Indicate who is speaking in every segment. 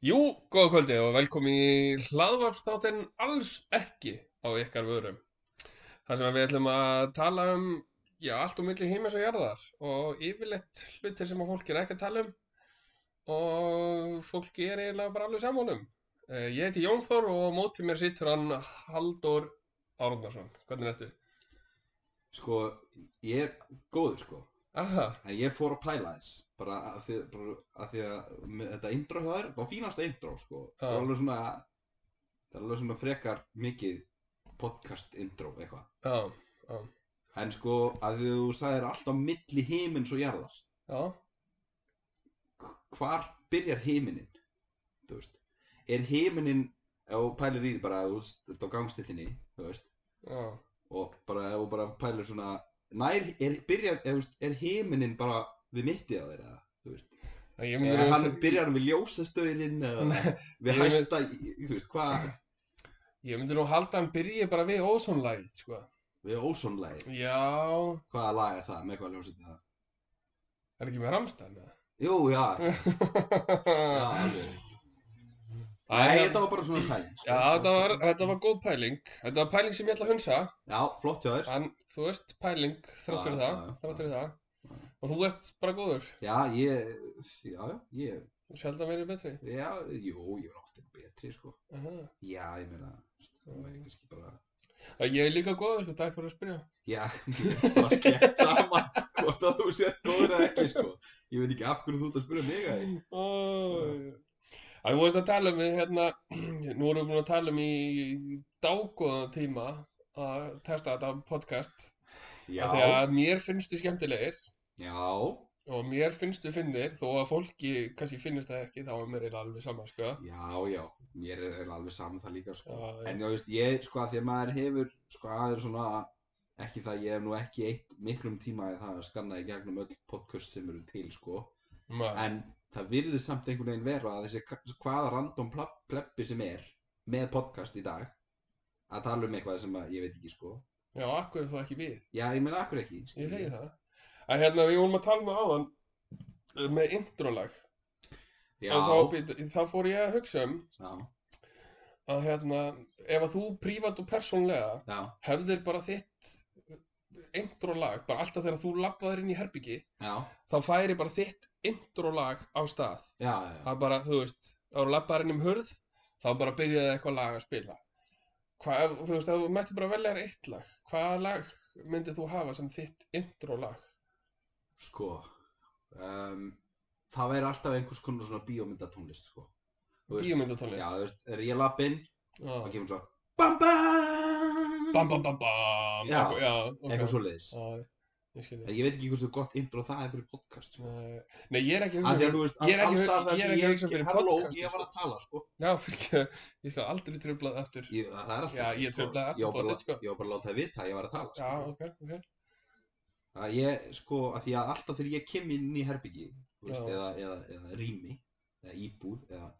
Speaker 1: Jú, góða kvöldi og velkomin í hlaðvarpstáttinn alls ekki á ykkar vörum. Það sem að við ætlum að tala um, já, allt um milli heimis og jarðar og yfirleitt hlutir sem að fólk er ekki að tala um og fólki er eiginlega bara alveg sammála um. Eh, Ég heiti Jón Þór og á móti mér sittur hann Halldór Árnarsson. Hvernig ertu?
Speaker 2: Sko, ég er góður sko,
Speaker 1: Aha,
Speaker 2: en ég fór að pæla þess, bara að því, bara að, því að með þetta intro hjá þér, það var fínasta intro sko, það
Speaker 1: Já.
Speaker 2: var alveg svona, það er alveg svona frekar mikið podcast intro eitthvað,
Speaker 1: já,
Speaker 2: en sko að því þú sagðir alltaf milli himins og jarðar,
Speaker 1: já,
Speaker 2: hvar byrjar himinin, þú veist, er himinin, ef þú pælir í því bara að þú veist, þú ert á gangstillinni, þú veist,
Speaker 1: já,
Speaker 2: og bara, ef þú bara pælir svona, nær, er, byrjar, eða, þú veist, er himinin bara við mittið á þeir eða, þú veist,
Speaker 1: Það ég
Speaker 2: Er
Speaker 1: myndi
Speaker 2: Eh, hann
Speaker 1: að-
Speaker 2: byrjar hann við ljósastöðininn eða
Speaker 1: ég
Speaker 2: við hæsta, þú veist, hvað
Speaker 1: ég myndi nú halda að hann byrji bara við ósónlægið, sko.
Speaker 2: við ósónlagi,
Speaker 1: Já,
Speaker 2: hvaða lag er það, með hvaða ljósið það?
Speaker 1: Er ekki með Ramstein? eða?
Speaker 2: Jú, já, já, alveg. Nei, þetta var bara svona pæling. sko.
Speaker 1: hérna- Já, þetta var, þetta var góð pæling. Þetta var pæling sem ég ætla að hunsa.
Speaker 2: Já, flott hjá þér.
Speaker 1: En þú veist pæling þrátt fyrir
Speaker 2: Já,
Speaker 1: það.
Speaker 2: já, já.
Speaker 1: Þrátt fyrir það.
Speaker 2: Já.
Speaker 1: Og þú ert bara góður.
Speaker 2: Já, ég, já, ég,
Speaker 1: Sjaldan verið betri.
Speaker 2: já, jú, ég var ofta betri, sko.
Speaker 1: Er það?
Speaker 2: Já, ég meina, það var kannski bara,
Speaker 1: Já, Ég er líka góður, sko. Takk fyrir að spyrja.
Speaker 2: já, ég var slegt saman hvort að þú sér góður eða ekki, sko. Ég veit ekki af hverju þú ert að spyrja mig að því.
Speaker 1: Ó, að þú veist að tala um við, hérna, nú erum við búin að tala um í dágóðan tíma að testa þetta podcast.
Speaker 2: Já,
Speaker 1: af því að mér finnst þú skemmtilegir.
Speaker 2: já,
Speaker 1: Og mér finnst þú finnir, þó að fólki kannski finnist það ekki, þá er mér eiginlega alveg sama, sko.
Speaker 2: Já, já, mér er eiginlega alveg saman það líka sko.
Speaker 1: Já, já.
Speaker 2: En já, veist, ég, sko, að því að maður hefur, sko, aðeins svona, ekki það, ég hef nú ekki eitt miklum tíma í það að skanna í gegnum öll podcast sem eru til, sko.
Speaker 1: Ma,
Speaker 2: En það virðir samt einhvern veginn vera að þessi ka- hvaða random pla- pleppi sem er með podcast í dag, að tala um eitthvað sem að, ég veit ekki, sko.
Speaker 1: já, akkur er það ekki við.
Speaker 2: Já, ég meina, akkur ekki,
Speaker 1: Ég
Speaker 2: skilurðu?
Speaker 1: segi það. Að hérna, við vorum að tala með áðan eh, með introlag.
Speaker 2: Já,
Speaker 1: Og þá, být- þá fór ég að hugsa um
Speaker 2: já,
Speaker 1: að hérna, ef að þú prívat og persónlega
Speaker 2: já,
Speaker 1: hefðir bara þitt introlag, bara alltaf þegar þú labbaðir inn í herbyggi,
Speaker 2: já,
Speaker 1: þá færi bara þitt introlag á stað.
Speaker 2: já, já,
Speaker 1: Það er bara, þú veist, þá eru labbaðir inn um hurð, þá bara byrjaði eitthvað lag að spila. Hvað, ef- þú veist, ef þú mætti bara velja þér eitt lag, hvaða lag myndið þú hafa sem þitt introlag?
Speaker 2: sko. Um, það væri alltaf einhvers konar svona bíómyndatónlist, sko. Þú veist, Já,
Speaker 1: Bíómyndatónlist.
Speaker 2: þú veist, er ég lapp inn
Speaker 1: Já.
Speaker 2: og kemur svo BAM BAM
Speaker 1: Bam, bam, bam, bam.
Speaker 2: Já,
Speaker 1: Eitthvað- já ok.
Speaker 2: Eitthvað svoleiðis
Speaker 1: Já, ég skil
Speaker 2: En
Speaker 1: þig.
Speaker 2: ég veit ekki hversu gott intro það er fyrir podcast sko.
Speaker 1: Nei, Nei, ég er ekki að
Speaker 2: Af því
Speaker 1: hugsa
Speaker 2: að þú veist,
Speaker 1: ég er ekki-
Speaker 2: allstaðar
Speaker 1: ég er
Speaker 2: þar sem
Speaker 1: ekki að hugsa fyrir
Speaker 2: Halló,
Speaker 1: podcast,
Speaker 2: ég var
Speaker 1: sko.
Speaker 2: að tala sko
Speaker 1: Já, fyrir ekki, ég skal aldrei tröflað aftur.
Speaker 2: ég, Það er alltaf
Speaker 1: Já, ég
Speaker 2: sko.
Speaker 1: truflaði
Speaker 2: Ég var bara,
Speaker 1: alltaf, sko.
Speaker 2: ég var bara að láta það vita að ég var að tala
Speaker 1: Já,
Speaker 2: sko.
Speaker 1: ok, ok.
Speaker 2: Það ég, sko, að því að alltaf þegar ég kem inn í herbyggi þú veist,
Speaker 1: Já.
Speaker 2: eða, eða, eða rými eða íbúð eða,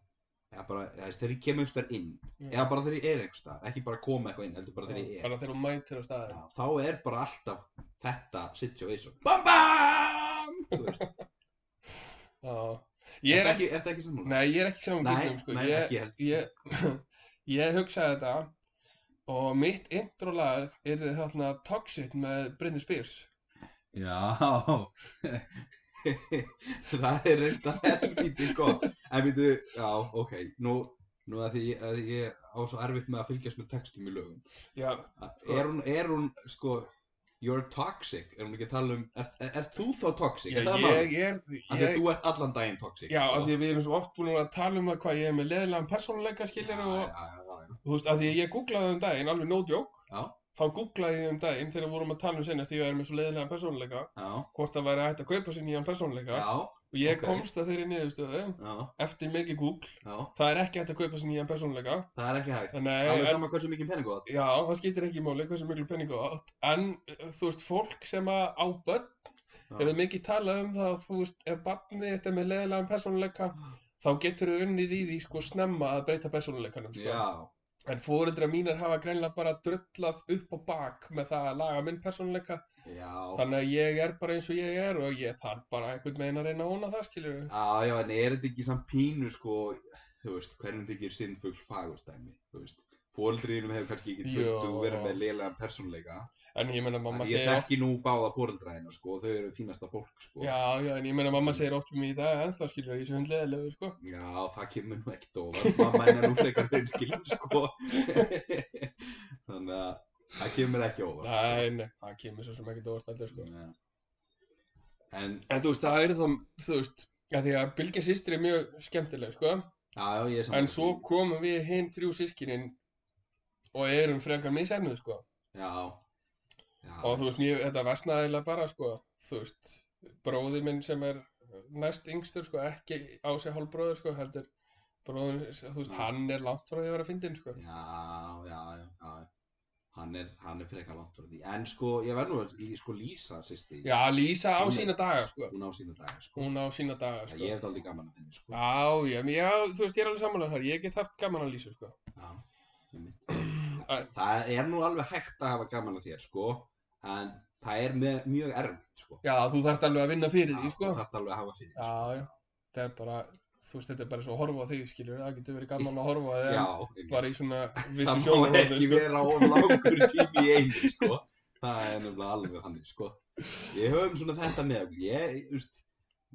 Speaker 2: eða bara, eða, þú veist, þegar ég kem einhvers þar inn eða bara þegar ég er einhvers þar, ekki bara koma eitthvað inn heldur bara þegar ég er
Speaker 1: Bara þegar þú mætir á staðin.
Speaker 2: Já, þá er bara alltaf þetta situation BAM BAM Þú veist,
Speaker 1: Já. Ég er
Speaker 2: ertu
Speaker 1: ekki,
Speaker 2: ekki, er ekki sammála?
Speaker 1: nei, ég er ekki saman
Speaker 2: nei,
Speaker 1: gildum, sko.
Speaker 2: nei,
Speaker 1: Ég-
Speaker 2: ekki held
Speaker 1: Ég, ég hugsaði þetta og mitt introlag er þarna Toxic með Britney Spears.
Speaker 2: Já Það er reynda helvítið gott En veitu, já, ok Nú, nú að því að ég á svo erfitt með að fylgjast með textum í lögum
Speaker 1: Já,
Speaker 2: Er hún, er hún, sko You're toxic, er hún ekki að tala um Er, er, er þú þá toxic?
Speaker 1: ég,
Speaker 2: er það
Speaker 1: ég,
Speaker 2: málið?
Speaker 1: ég,
Speaker 2: Af því að
Speaker 1: ég,
Speaker 2: þú ert allan daginn toxic sko.
Speaker 1: já, af því að við erum svo oft búin að tala um það hvað ég er með leðilegan persónuleika skilur og,
Speaker 2: já,
Speaker 1: þú veist, af því að ég googlaði um daginn, alveg no joke,
Speaker 2: já, já,
Speaker 1: þá googlaði ég um daginn þegar við vorum að tala um senast þegar ég er með svo leðilegan persónuleika,
Speaker 2: já,
Speaker 1: hvort það væri hægt að kaupa sér nýjan persónuleika
Speaker 2: já,
Speaker 1: og ég
Speaker 2: ok.
Speaker 1: komst að þeirri niðurstöðu
Speaker 2: já,
Speaker 1: eftir mikið Google,
Speaker 2: já.
Speaker 1: það er ekki hægt að kaupa sér nýjan persónuleika,
Speaker 2: Það er ekki hægt.
Speaker 1: þannig
Speaker 2: Alveg
Speaker 1: en-
Speaker 2: sama hversu mikið pening þú átt.
Speaker 1: Já, það skiptir ekki máli hversu miklu peningu þú átt en uh, þú veist, fólk sem að á börn
Speaker 2: Já.
Speaker 1: hefur mikið talað um það að þú veist, ef barnið þetta er með leðilegan persónuleika þá getur þau unnið í því sko snemma að breyta persónuleikanum sko.
Speaker 2: Já,
Speaker 1: en fóreldra mínar hafa greinlega bara drullað upp og bak með það að laga minn persónuleika
Speaker 2: já.
Speaker 1: þannig að ég er bara eins og ég er og ég þarf bara einhvern veginn að reyna að óna það skilur
Speaker 2: Já, já, en er þetta ekki samt pínu, sko, þú veist, hvernig þykir sinnfugl fagurdæmi, þú veist. Fóreldriðinum hefur kannski ekki
Speaker 1: Jó.
Speaker 2: tungt og verið með leilaðan persónuleika.
Speaker 1: En ég meina mamma
Speaker 2: En ég
Speaker 1: segir
Speaker 2: þekki sko. nú báða fóreldræðina, sko, þau eru fínasta fólk, sko.
Speaker 1: Já, já, en ég meina mamma segir oft um í dag en þá skilur ég þessu hundleðilegu, sko.
Speaker 2: Já, það kemur nú ekkert ofar, mamma henni er nú frekar reynskilin, sko. Þannig að það kemur ekki sko. ofar.
Speaker 1: Nei, nei, það kemur svo sem ekki dóvart allir, sko.
Speaker 2: Nei. En,
Speaker 1: En þú veist, það er þá, þú veist, að því að Bilgja sýstri er mjög skemmtileg, sko.
Speaker 2: já, já, ég er saman.
Speaker 1: En svo komum við hinn þrjú sískinin og erum frekar misemnuð, sko.
Speaker 2: Já, já,
Speaker 1: Og þú veist, mér, þetta versnaðilega bara, sko, þú veist, bróðir minn sem er næst yngstur, sko, ekki á sig hálfbróður, sko, heldur bróðir, þú veist,
Speaker 2: Mm.
Speaker 1: hann er langt frá því að vera fyndinn, sko.
Speaker 2: já, já, já, já. Hann er, hann er frekar langt frá því. En sko, ég verð nú að, í- sko, Lísa, sýsti,
Speaker 1: Já, Lísa á
Speaker 2: Hún er-
Speaker 1: sína daga, sko.
Speaker 2: hún á sína daga, sko.
Speaker 1: Hún á sína daga, sko.
Speaker 2: Ég hef aldrei gaman af henni, sko.
Speaker 1: Já, já, já, þú veist, ég er alveg samanlega þar, ég get haft gaman að lýsa, sko.
Speaker 2: Já, einmitt. Það er nú alveg hægt að hafa gaman af þér, sko, en það er með, mjög erfitt, sko.
Speaker 1: Já, þú þarft alveg að vinna fyrir því, sko.
Speaker 2: Það þarf alveg að hafa fyrir því,
Speaker 1: Já, já, það er bara, þú veist, þetta er bara svo að horfa á þig, skiljur, það getur verið gaman að horfa á
Speaker 2: sko.
Speaker 1: þig,
Speaker 2: Já,
Speaker 1: en
Speaker 2: einmitt.
Speaker 1: bara í svona vissu
Speaker 2: það má
Speaker 1: sjónarhóðu,
Speaker 2: ekki
Speaker 1: sko.
Speaker 2: vera of langur tími í einu, sko. Það er nefnilega alveg hann, sko. Ég höfum svona þetta með okkur. Ég, þú veist,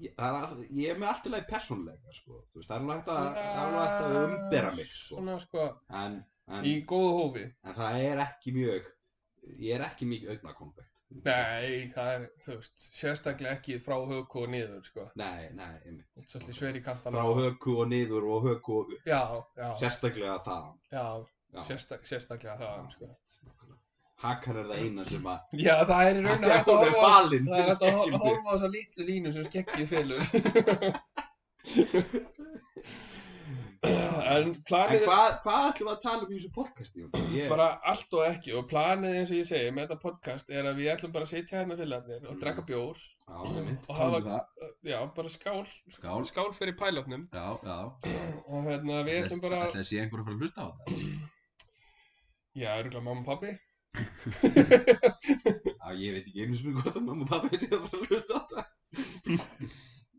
Speaker 2: ég, það er all, ég er með allt í lagi persónleika, sko. Þú veist, það er alveg hægt að, það er alveg hægt að umbera mig, sko.
Speaker 1: Svona, sko,
Speaker 2: En, en,
Speaker 1: í góðu hófi.
Speaker 2: en það er ekki mjög, ég er ekki mikið augnakombekt.
Speaker 1: Nei, það er, þú veist, sérstaklega ekki frá höku og niður, sko.
Speaker 2: Nei, nei, einmitt.
Speaker 1: Svolítið sveir í kantana.
Speaker 2: Frá höku og niður og höku og upp.
Speaker 1: Já, já,
Speaker 2: Sérstaklega þaðan.
Speaker 1: já,
Speaker 2: Já.
Speaker 1: sérstak, sérstaklega það, sko.
Speaker 2: Nákvæmlega. Hakan er það eina sem að,
Speaker 1: Já, það er í raun
Speaker 2: hún
Speaker 1: og
Speaker 2: er
Speaker 1: hægt að horfa á
Speaker 2: falinn
Speaker 1: Það er
Speaker 2: fyrir
Speaker 1: hægt að hor-
Speaker 2: skekkinu.
Speaker 1: horfa á þessa litlu línu sem skekkið fylur. en
Speaker 2: En
Speaker 1: planið er
Speaker 2: hvað hva ætlum við að tala um í þessu podcasti? Jón? Ég,
Speaker 1: bara allt og ekki og planið eins og ég segi með þetta podcast er að við ætlum bara að sitja hérna fylgarnir og
Speaker 2: Mm.
Speaker 1: drekka bjór,
Speaker 2: já, einmitt,
Speaker 1: og
Speaker 2: tala um
Speaker 1: hafa-
Speaker 2: það.
Speaker 1: já, bara skál,
Speaker 2: Skál,
Speaker 1: skál fyrir pælotnum
Speaker 2: já, já.
Speaker 1: og hérna við ætlum bara,
Speaker 2: Ætlaði að sé einhver að fara að hlusta á þetta?
Speaker 1: já, örgulega mamma og pabbi,
Speaker 2: Já, ég veit ekki einu sem er hvort að mamma og pappa sé að fara að hlusta á þetta.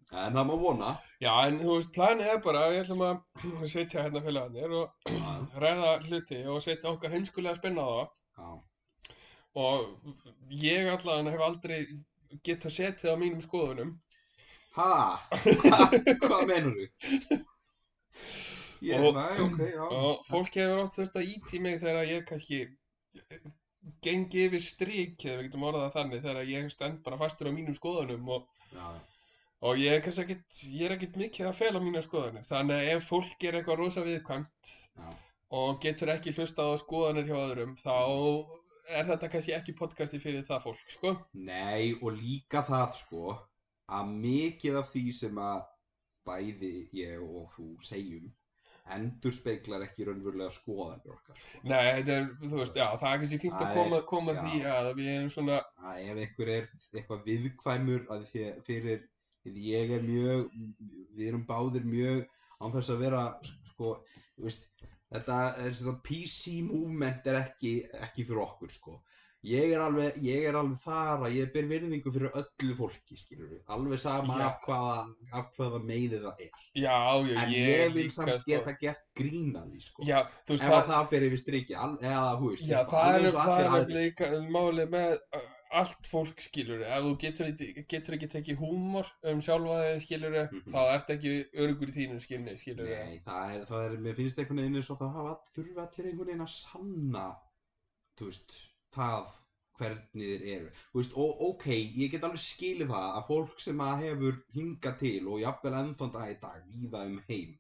Speaker 2: En það má vona.
Speaker 1: já, en þú veist, planið er bara að við ætlum að sitja hérna fylgarnir og
Speaker 2: Já,
Speaker 1: ræða hluti og setja okkar heimskulega spinna á það
Speaker 2: já,
Speaker 1: og ég allan hef aldrei geta setið á mínum skoðunum
Speaker 2: Ha? Hva- Hvað menur þú? Ég,
Speaker 1: Og-
Speaker 2: nei, ok, já.
Speaker 1: og fólk hefur oft þurft að íti mig þegar ég kannski gengi yfir strik eða við getum orðað það þannig þegar ég stend bara fastur á mínum skoðunum og,
Speaker 2: Já,
Speaker 1: og ég er kannski ekkit, ég er ekkit mikið að fela mína skoðunum þannig að ef fólk er eitthvað rosa viðkvæmt
Speaker 2: já,
Speaker 1: og getur ekki hlustað á skoðanir hjá öðrum þá er þetta kannski ekki podcasti fyrir það fólk sko
Speaker 2: Nei, og líka það sko að mikið af því sem að bæði ég og þú segjum endur speiklar ekki raunverulega skoðanir okkar sko.
Speaker 1: Nei, þetta er, þú veist, já, það er kannski fínt að
Speaker 2: Æ,
Speaker 1: koma, koma
Speaker 2: já.
Speaker 1: því að við erum svona
Speaker 2: Að ef einhver er eitthvað viðkvæmur að því fyrir því ég er mjög, við erum báðir mjög án þess að vera sko, þú veist, þetta er þetta PC movement er ekki, ekki fyrir okkur sko. Ég er, alveg, ég er alveg þar að ég ber virðingu fyrir öllu fólki, skilur við, alveg sama
Speaker 1: Já.
Speaker 2: af hvaða, af hvaða meiði það er.
Speaker 1: Já, já, ég,
Speaker 2: En ég,
Speaker 1: er
Speaker 2: vil
Speaker 1: líka,
Speaker 2: samt
Speaker 1: sko.
Speaker 2: geta gert grín að því, sko.
Speaker 1: Já, þú veist,
Speaker 2: Ef að
Speaker 1: það,
Speaker 2: það fyrir við strikið, al- eða hú veist,
Speaker 1: já,
Speaker 2: eitthvað,
Speaker 1: það
Speaker 2: alveg
Speaker 1: er,
Speaker 2: eins og
Speaker 1: það
Speaker 2: allir
Speaker 1: er
Speaker 2: aðrir.
Speaker 1: líka máli með uh, allt fólk skilur ef þú getur, ekki- getur ekki tekið húmor um sjálfa þig skilur
Speaker 2: Mhm.
Speaker 1: þá ert ekki örugur í þínu skinni skilur
Speaker 2: Nei, það er, það er, mér finnst einhvern veginn eins og það hafa, þurfa allir einhvern veginn að sanna, þú veist, það hvernig þeir eru. Þú veist, og ok, ég get alveg skilið það að fólk sem að hefur hingað til og jafnvel ennþann dag í dag, víða um heim,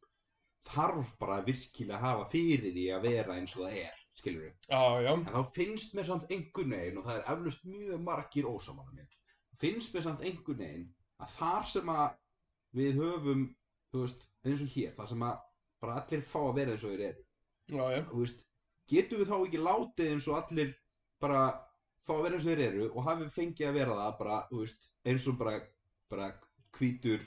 Speaker 2: þarf bara virkilega að hafa fyrir því að vera eins og það er, skilur við.
Speaker 1: Já, já,
Speaker 2: En þá finnst mér samt einhvern veginn, og það er eflust mjög margir ósamanum mér, finnst mér samt einhvern veginn að þar sem að við höfum, þú veist, eins og hér, þar sem að bara allir fá að vera eins og þeir eru,
Speaker 1: já, já
Speaker 2: þú veist, getum við þá ekki látið eins og allir bara fá að vera eins og þeir eru og hafið fengið að vera það bara, þú veist, eins og bara, bara hvítur,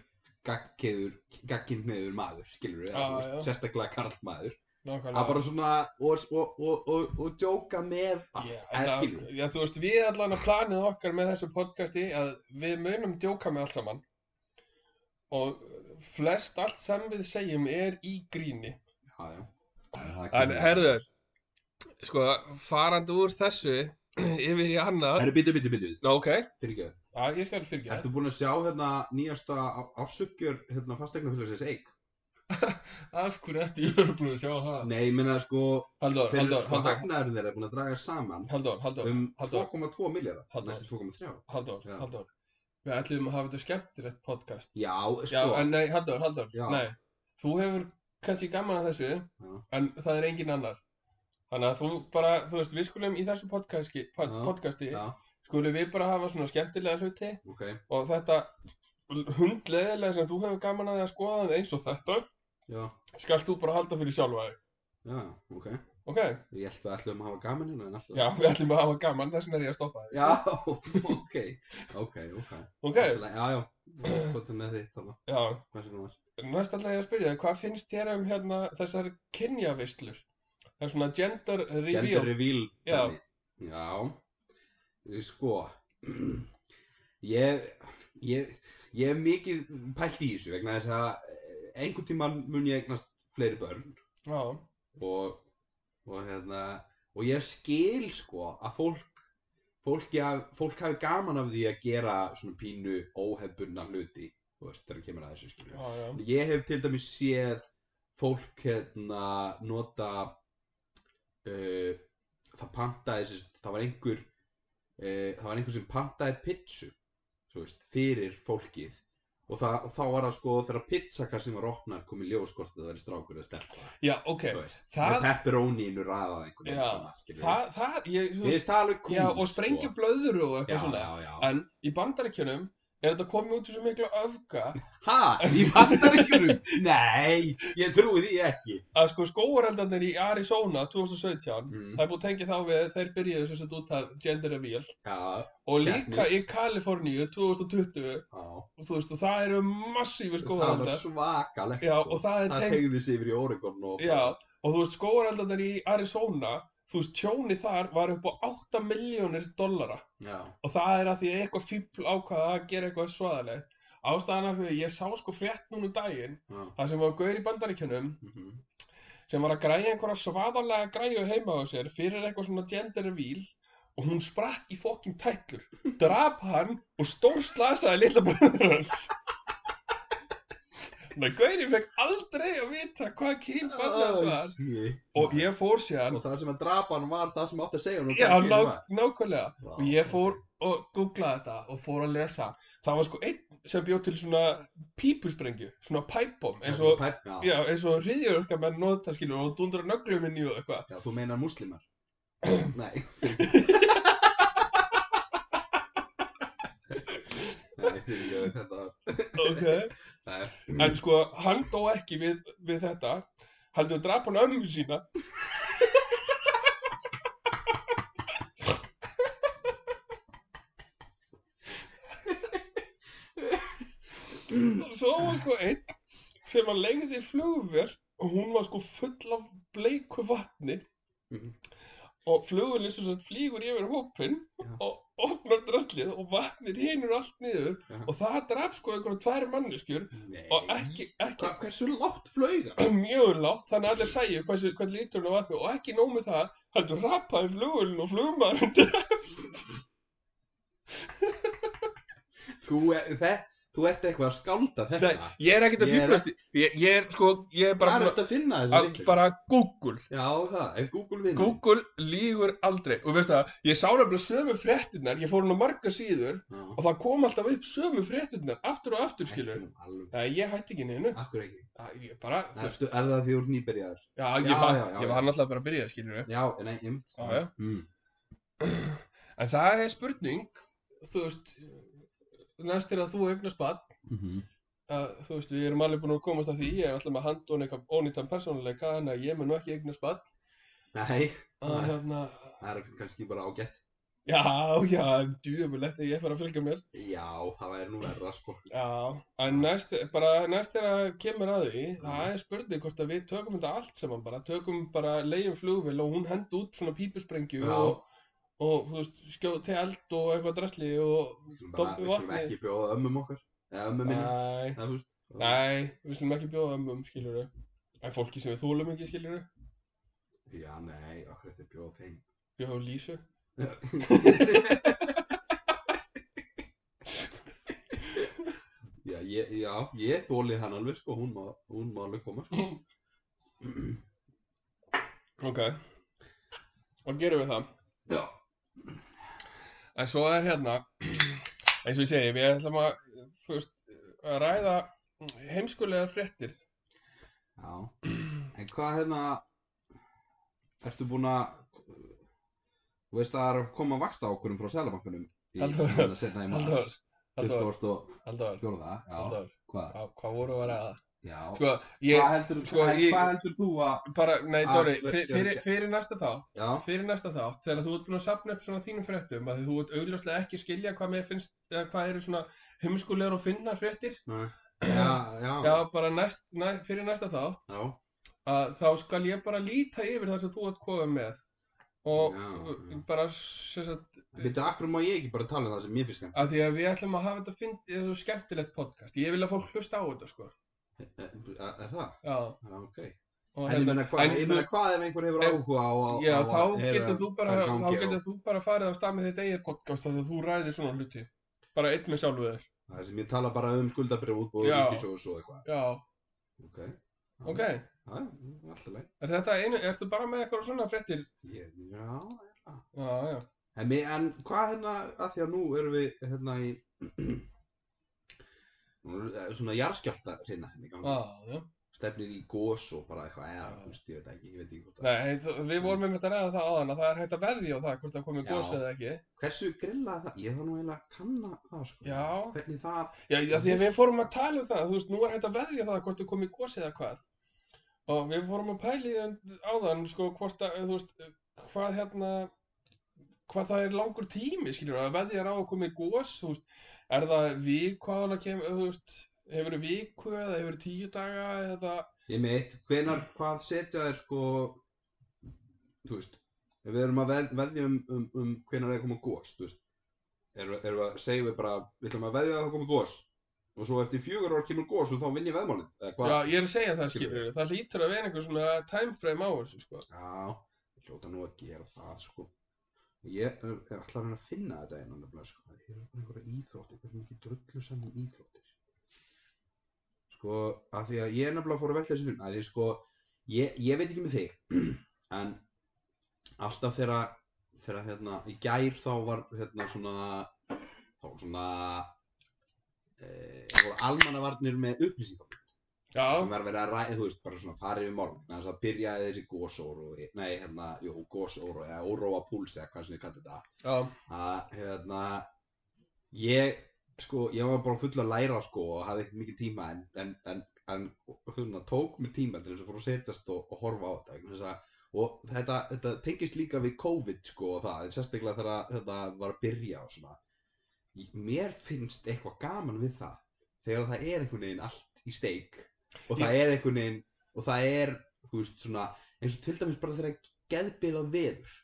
Speaker 2: gagkiður, gagkinneiður maður, skilur við,
Speaker 1: Já, já.
Speaker 2: sérstaklega karlmaður,
Speaker 1: nákvæmlega
Speaker 2: að bara svona, og, og, og, og, og djóka með allt,
Speaker 1: Já,
Speaker 2: eða
Speaker 1: það-
Speaker 2: skilur við.
Speaker 1: já, þú veist, við allan að planið okkar með þessu podcasti að við munum djóka með allt saman og flest allt sem við segjum er í gríni.
Speaker 2: Já, já.
Speaker 1: En herðu, sko, farandi úr þessu yfir í annað.
Speaker 2: Herðu, bítu, bítu, bítu,
Speaker 1: Ná, ok,
Speaker 2: fyrirgeðu.
Speaker 1: já, ég skal fyrirgeða.
Speaker 2: Ertu búin að sjá hérna nýjasta á- afsökjur hérna fastegnafélagsins eik?
Speaker 1: Af hverju ertu ég er búin að sjá það?
Speaker 2: Nei, ég meina sko,
Speaker 1: Halldór,
Speaker 2: þeir eru
Speaker 1: Halldór,
Speaker 2: sko
Speaker 1: Halldór,
Speaker 2: hagnaðurinn þeirra er búin að draga saman
Speaker 1: Halldór, Halldór,
Speaker 2: um
Speaker 1: Halldór.
Speaker 2: 2,2 miljardar,
Speaker 1: Halldór.
Speaker 2: næstu 2,3.
Speaker 1: Halldór,
Speaker 2: Já.
Speaker 1: Halldór. Við ætlum að hafa þetta skemmtilegt podcast.
Speaker 2: Já,
Speaker 1: Já,
Speaker 2: sko,
Speaker 1: en nei, Halldór, Halldór,
Speaker 2: Já.
Speaker 1: nei. Þú hefur kannski gaman að þessu,
Speaker 2: Já.
Speaker 1: en það er engin annar. Þannig að þú bara, þú veist, við skulum í þessu podcasti, pod,
Speaker 2: Já.
Speaker 1: podcasti
Speaker 2: já,
Speaker 1: skulum við bara hafa svona skemmtilega hluti
Speaker 2: ok,
Speaker 1: og þetta hundleðilega sem þú hefur gaman að því að skoða það eins og þetta,
Speaker 2: já,
Speaker 1: skalt þú bara halda fyrir sjálfa þig.
Speaker 2: já, ok.
Speaker 1: Ok?
Speaker 2: Ég held við ætlum að hafa gaman hérna en alltaf.
Speaker 1: Já, við ætlum að hafa gaman, þess vegna er ég að stoppa þig.
Speaker 2: Já, ok, ok, ok.
Speaker 1: Ok,
Speaker 2: Allt í lagi, Já, já, hvað er með þitt þarna,
Speaker 1: já.
Speaker 2: hvað sem það var.
Speaker 1: Næst ætla ég að spyrja þig, hvað finnst þér um hérna þessar kynjavislur? Það er svona gender reveal.
Speaker 2: Gender reveal
Speaker 1: Já.
Speaker 2: dæmi. Já, sko, ég, ég, ég hef mikið pælt í þessu vegna þess að eh, einhvern tímann mun ég eignast fleiri börn
Speaker 1: Já,
Speaker 2: og, og hérna, og ég skil sko að fólk, fólk, ja, fólk hafi gaman af því að gera svona pínu óhefbunna hluti, þú veist, þegar kemur að þessu skilju.
Speaker 1: já, já.
Speaker 2: Ég hef til dæmis séð fólk hérna nota uh, það pantaði sérst, það var einhver uh, það var einhver sem pantaði pizzu þú veist, fyrir fólkið og, það, og þá var það sko þegar pizzakassin var opnað kom í ljós hvort það væri strákur eða stelpa
Speaker 1: Já, ok.
Speaker 2: þú veist,
Speaker 1: það-
Speaker 2: með pepperóninu raðað einhvern
Speaker 1: Já,
Speaker 2: skilur við.
Speaker 1: Það, það, ég, þú
Speaker 2: Mér
Speaker 1: veist,
Speaker 2: finnst það alveg kúl
Speaker 1: já, og sprengja blöður og
Speaker 2: sko. já,
Speaker 1: eitthvað svona.
Speaker 2: já, já.
Speaker 1: En í bandaríkjunum er þetta komið út í svo mikla öfga
Speaker 2: Ha, í bandaríkjunum? Nei, ég trúi því ekki.
Speaker 1: að sko skóareldarnir í Arizona 2017,
Speaker 2: Mm.
Speaker 1: það er búið að tengja þá við að þeir byrjuðu sem sett út af gender reveal
Speaker 2: Já,
Speaker 1: og líka
Speaker 2: Keppnis.
Speaker 1: í Kaliforníu 2020
Speaker 2: já.
Speaker 1: og þú veist, og það eru massífi
Speaker 2: það var
Speaker 1: skóareldar.
Speaker 2: svakalegt
Speaker 1: Já,
Speaker 2: sko.
Speaker 1: og það er
Speaker 2: það
Speaker 1: tengt
Speaker 2: tegði sig yfir í Oregon og
Speaker 1: Já, og þú veist, skóareldarnir í Arizona, þú veist, tjóni þar var upp á 8 miljónir dollara
Speaker 2: já,
Speaker 1: og það er að því að eitthvað fíbl ákvaða að gera eitthvað svaðalegt. Ástæðan af því, ég sá sko frétt núna um daginn,
Speaker 2: já.
Speaker 1: það sem var gauður í bandaríkjunum,
Speaker 2: mhm,
Speaker 1: sem var að græja einhverja svaðalega græju heima á sér fyrir eitthvað svona gender reveal og hún sprakk í fokking tætlur, drap hann og stórslasaði litla bröður hans. Þannig að Gauri fekk aldrei að vita hvað kyn barnast
Speaker 2: Oh,
Speaker 1: var.
Speaker 2: shit.
Speaker 1: Og ég fór síðan,
Speaker 2: og það sem að drapa hann var það sem átti að segja hann og
Speaker 1: já,
Speaker 2: hvað
Speaker 1: ná,
Speaker 2: gerir maður?
Speaker 1: nákvæmlega.
Speaker 2: Vá,
Speaker 1: Og ég fór og googlaði þetta og fór að lesa. Það var sko einn sem bjóð til svona pípusprengju, svona pipebomb, eins og,
Speaker 2: Pæp- já,
Speaker 1: já, eins og hriðjörka menn nota skilur og dundra nöglum inn í og eitthvað.
Speaker 2: já, þú meinar múslimar nei Nei, fyrirgefðu, þetta var-
Speaker 1: Ok.
Speaker 2: það er-
Speaker 1: En sko, hann dó ekki við, við þetta, heldur drap hann ömmu sína. Og Svo var sko einn sem að legði flugvél og hún var sko full af bleiku vatni
Speaker 2: Mhm.
Speaker 1: og flugvélinn sem sagt flýgur yfir hópinn
Speaker 2: Já.
Speaker 1: og opnar draslið og vatnið hinur allt niður
Speaker 2: Já.
Speaker 1: og það draf sko einhverjum tvær manneskjur
Speaker 2: Nei.
Speaker 1: og ekki, ekki
Speaker 2: Hvað- hversu látt flög hann?
Speaker 1: mjög lágt þannig að allir sæju hversu, hvern lítur hún á vatni og ekki nóg með það heldur rapaði flugulinn og flugmaðurinn drefst
Speaker 2: þú, er- þe- þú ert eitthvað að skálda þetta
Speaker 1: Nei, ég er ekkert að
Speaker 2: Ég er-
Speaker 1: fíblast í- ég, ég er sko, ég er bara
Speaker 2: hvað er
Speaker 1: búinn
Speaker 2: þetta að finna
Speaker 1: að, að
Speaker 2: þessu
Speaker 1: bara Google,
Speaker 2: já það, ef Google vinur
Speaker 1: Google lígur aldrei og veist það, ég sá nefnilega sömu fréttinnar ég fór hún á marga síður og
Speaker 2: Já.
Speaker 1: það kom alltaf upp sömu fréttinnar aftur og aftur skilur
Speaker 2: Hættu nú alveg.
Speaker 1: Nei, ég hætti ekki neinu
Speaker 2: Akkur ekki.
Speaker 1: Það- ég bara, þú veist,
Speaker 2: Ertu, er það því úr nýbyrjaður?
Speaker 1: já, ég
Speaker 2: Já,
Speaker 1: var
Speaker 2: já, já,
Speaker 1: ég
Speaker 2: já.
Speaker 1: var náttúrulega bara að byrja skilur
Speaker 2: Já, en ég...
Speaker 1: Já, já.
Speaker 2: Mm.
Speaker 1: En það er spurning, þú veist, næst er að þú eignast bann, að, þú veist, við erum alveg búin að komast að því, ég er alltaf með handón eitthvað ónýttan persónuleika, þannig að ég mun nú ekki eignast bann,
Speaker 2: Nei,
Speaker 1: að
Speaker 2: Nei.
Speaker 1: hérna,
Speaker 2: það er kannski bara ágætt.
Speaker 1: já, já, djúðumulegt að ég fara að fylgja mér,
Speaker 2: Já, það væri nú verra, sko.
Speaker 1: já, en næst, bara næst er að kemur að því,
Speaker 2: Mm.
Speaker 1: það er spurning hvort að við tökum þetta allt saman bara, tökum bara leiðum flugvél og hún hendi út svona pípusprengju
Speaker 2: Já.
Speaker 1: og, og, þú veist, skjóti eld og eitthvað drasli og,
Speaker 2: Við skulum bara,
Speaker 1: Dobbi
Speaker 2: við skulum
Speaker 1: vatni.
Speaker 2: ekki bjóða ömmum okkar. Eða ömmum minna.
Speaker 1: æ,
Speaker 2: Það, þú veist,
Speaker 1: Nei, við slum ekki bjóða um um skiljuru. En fólki sem við þólum ekki skiljuru,
Speaker 2: Já, nei, okkur þetta er bjóð þeim.
Speaker 1: bjóða um Lísu.
Speaker 2: já, ég, já, ég þóli hann alveg, sko, hún má, hún má alveg koma, sko.
Speaker 1: Ok. Og gerum við það.
Speaker 2: Já.
Speaker 1: En svo er hérna, eins og ég segi, við ætlum að, þú veist, að ræða heimskulegar fréttir.
Speaker 2: Já. En hvað hérna, ertu búin að, þú veist að það er að koma að vaksta okkurum um frá Sælabankunum í
Speaker 1: Halldór,
Speaker 2: hérna setna í
Speaker 1: Halldór,
Speaker 2: mars,
Speaker 1: Halldór,
Speaker 2: 24.
Speaker 1: Halldór,
Speaker 2: Já,
Speaker 1: Halldór,
Speaker 2: hvað?
Speaker 1: hvað, hvað voru að ræða?
Speaker 2: Já.
Speaker 1: Sko,
Speaker 2: hvað
Speaker 1: ég
Speaker 2: heldur,
Speaker 1: sko,
Speaker 2: en
Speaker 1: ég-
Speaker 2: hvað heldur þú að,
Speaker 1: bara, nei,
Speaker 2: Ah,
Speaker 1: Dóri,
Speaker 2: ég-
Speaker 1: fyr- fyrir, fyrir næsta þátt,
Speaker 2: já,
Speaker 1: fyrir næsta þátt, þegar þú ert búin að safna upp svona þínum fréttum, að því þú ert augljóslega ekki skilja hvað mér finnst, eða hvað eru svona heimskulegar og finnar fréttir,
Speaker 2: já, já,
Speaker 1: já, bara næst, næ, fyrir næsta þátt,
Speaker 2: já.
Speaker 1: að þá skal ég bara líta yfir það sem þú ert komið með og
Speaker 2: Já, já.
Speaker 1: bara sem sagt,
Speaker 2: Býttu, akkur má ég ekki bara tala um það sem mér finnst skemmt?
Speaker 1: að því að við ætlum að hafa þetta fyndið þetta er skemmtilegt podcast, ég vil að fólk hlusta á þetta sko,
Speaker 2: Eh, Er, er það?
Speaker 1: já
Speaker 2: Já, ok.
Speaker 1: og hérna,
Speaker 2: En ég meina hvað,
Speaker 1: en þú
Speaker 2: ég meina
Speaker 1: veist,
Speaker 2: hvað ef einhver hefur
Speaker 1: en-
Speaker 2: áhuga á, á
Speaker 1: já,
Speaker 2: á
Speaker 1: þá
Speaker 2: að heyra
Speaker 1: getur þú bara
Speaker 2: hvað er í
Speaker 1: þá
Speaker 2: gangi
Speaker 1: getur
Speaker 2: og,
Speaker 1: þú bara farið á stað með þitt eigið podcast af því að þú ræðir svona hluti bara einn með sjálfu þér,
Speaker 2: Það sem ég tala bara um skuldabrif útbúið
Speaker 1: Já.
Speaker 2: ríkisjóðs og eitthvað.
Speaker 1: já,
Speaker 2: Ok.
Speaker 1: ok er
Speaker 2: Já, já, alltaf leið.
Speaker 1: þetta einu, ertu bara með eitthvað svona fréttir
Speaker 2: Ég- Já, já.
Speaker 1: já, já,
Speaker 2: En, mi- en hvað hérna, að því að nú erum við hérna í nú er eh, svona jarðskjálta sinna hérna í gangi.
Speaker 1: já, já
Speaker 2: Stefnir í gós og bara eitthvað, eða,
Speaker 1: Já.
Speaker 2: þú veist, ég veit ekki, ég veit ekki hvort að...
Speaker 1: Nei, þú- við vorum með að ræða það áðan að það er hægt að veðja á það hvort það komið
Speaker 2: Já.
Speaker 1: góðs eða ekki
Speaker 2: Hversu grillað það? Ég þarf nú eiginlega að kanna það, sko.
Speaker 1: Já.
Speaker 2: Hvernig það
Speaker 1: Já, já, því að við fórum að tala um það, þú veist, nú er hægt að veðja það hvort þau komið gósið eða hvað. Og við fórum að pæli áðan, sko, hvort að, þú veist, hvað hérna, hvað það er langur tími, skiljur, að veðja á að komið gós, þú veist, er það viku áðan að kemur, þú veist, hefur það viku eða hefur það tíu daga eða,
Speaker 2: Ég meitt, hvenar, hvað setja þér sko, þú veist, ef við erum að veð- veðja um, um, um hvenar er að koma gos, þú veist, erum, við- erum við að segja við bara, við ætlum að veðja að það koma gos og svo eftir fjögur ár kemur gos og þá vinn ég veðmálið, eða hvað?
Speaker 1: já, ég er að segja það,
Speaker 2: Skilurðu.
Speaker 1: skiljur, það lítur að vera einhver svona timeframe á þessu, sko.
Speaker 2: Já, ég hljóta nú að gera það sko. Ég er, er alltaf að reyna að finna þetta einan nefnilega sko. Það eru bara einhverja íþróttir, hvernig mikið drullu saman íþróttir. Sko, af því að ég er nefnilega að fóra að velta þessu fyrir. mér, af Því sko, ég, ég veit ekki með þig, en alltaf þegar, þegar hérna, í gær þá var hérna svona, þá var svona, e, voru almannavarnir með upplýsingum sem
Speaker 1: Já,
Speaker 2: var verið að ræða, þú veist, bara svona farið við málum þannig að það byrjaði þessi gósóru nei, hérna, jú, gósóru eða óróa púls eða hvað sem við kallar þetta
Speaker 1: já,
Speaker 2: að, hérna ég, sko, ég var bara full að læra sko og hafði ekki mikið tíma en, en, en, en hérna, tók mér tíma til þess að fór að setjast og, og horfa á þetta vegna þess að, og þetta, þetta tengist líka við COVID sko og það, en sérstaklega þegar þetta var að byrja og svona Ég- mér finnst eitthvað gaman við það þegar það er einhvern veginn allt í steik og það er einhvern veginn og það er, þú veist, svona eins og til dæmis bara þegar geðbila veður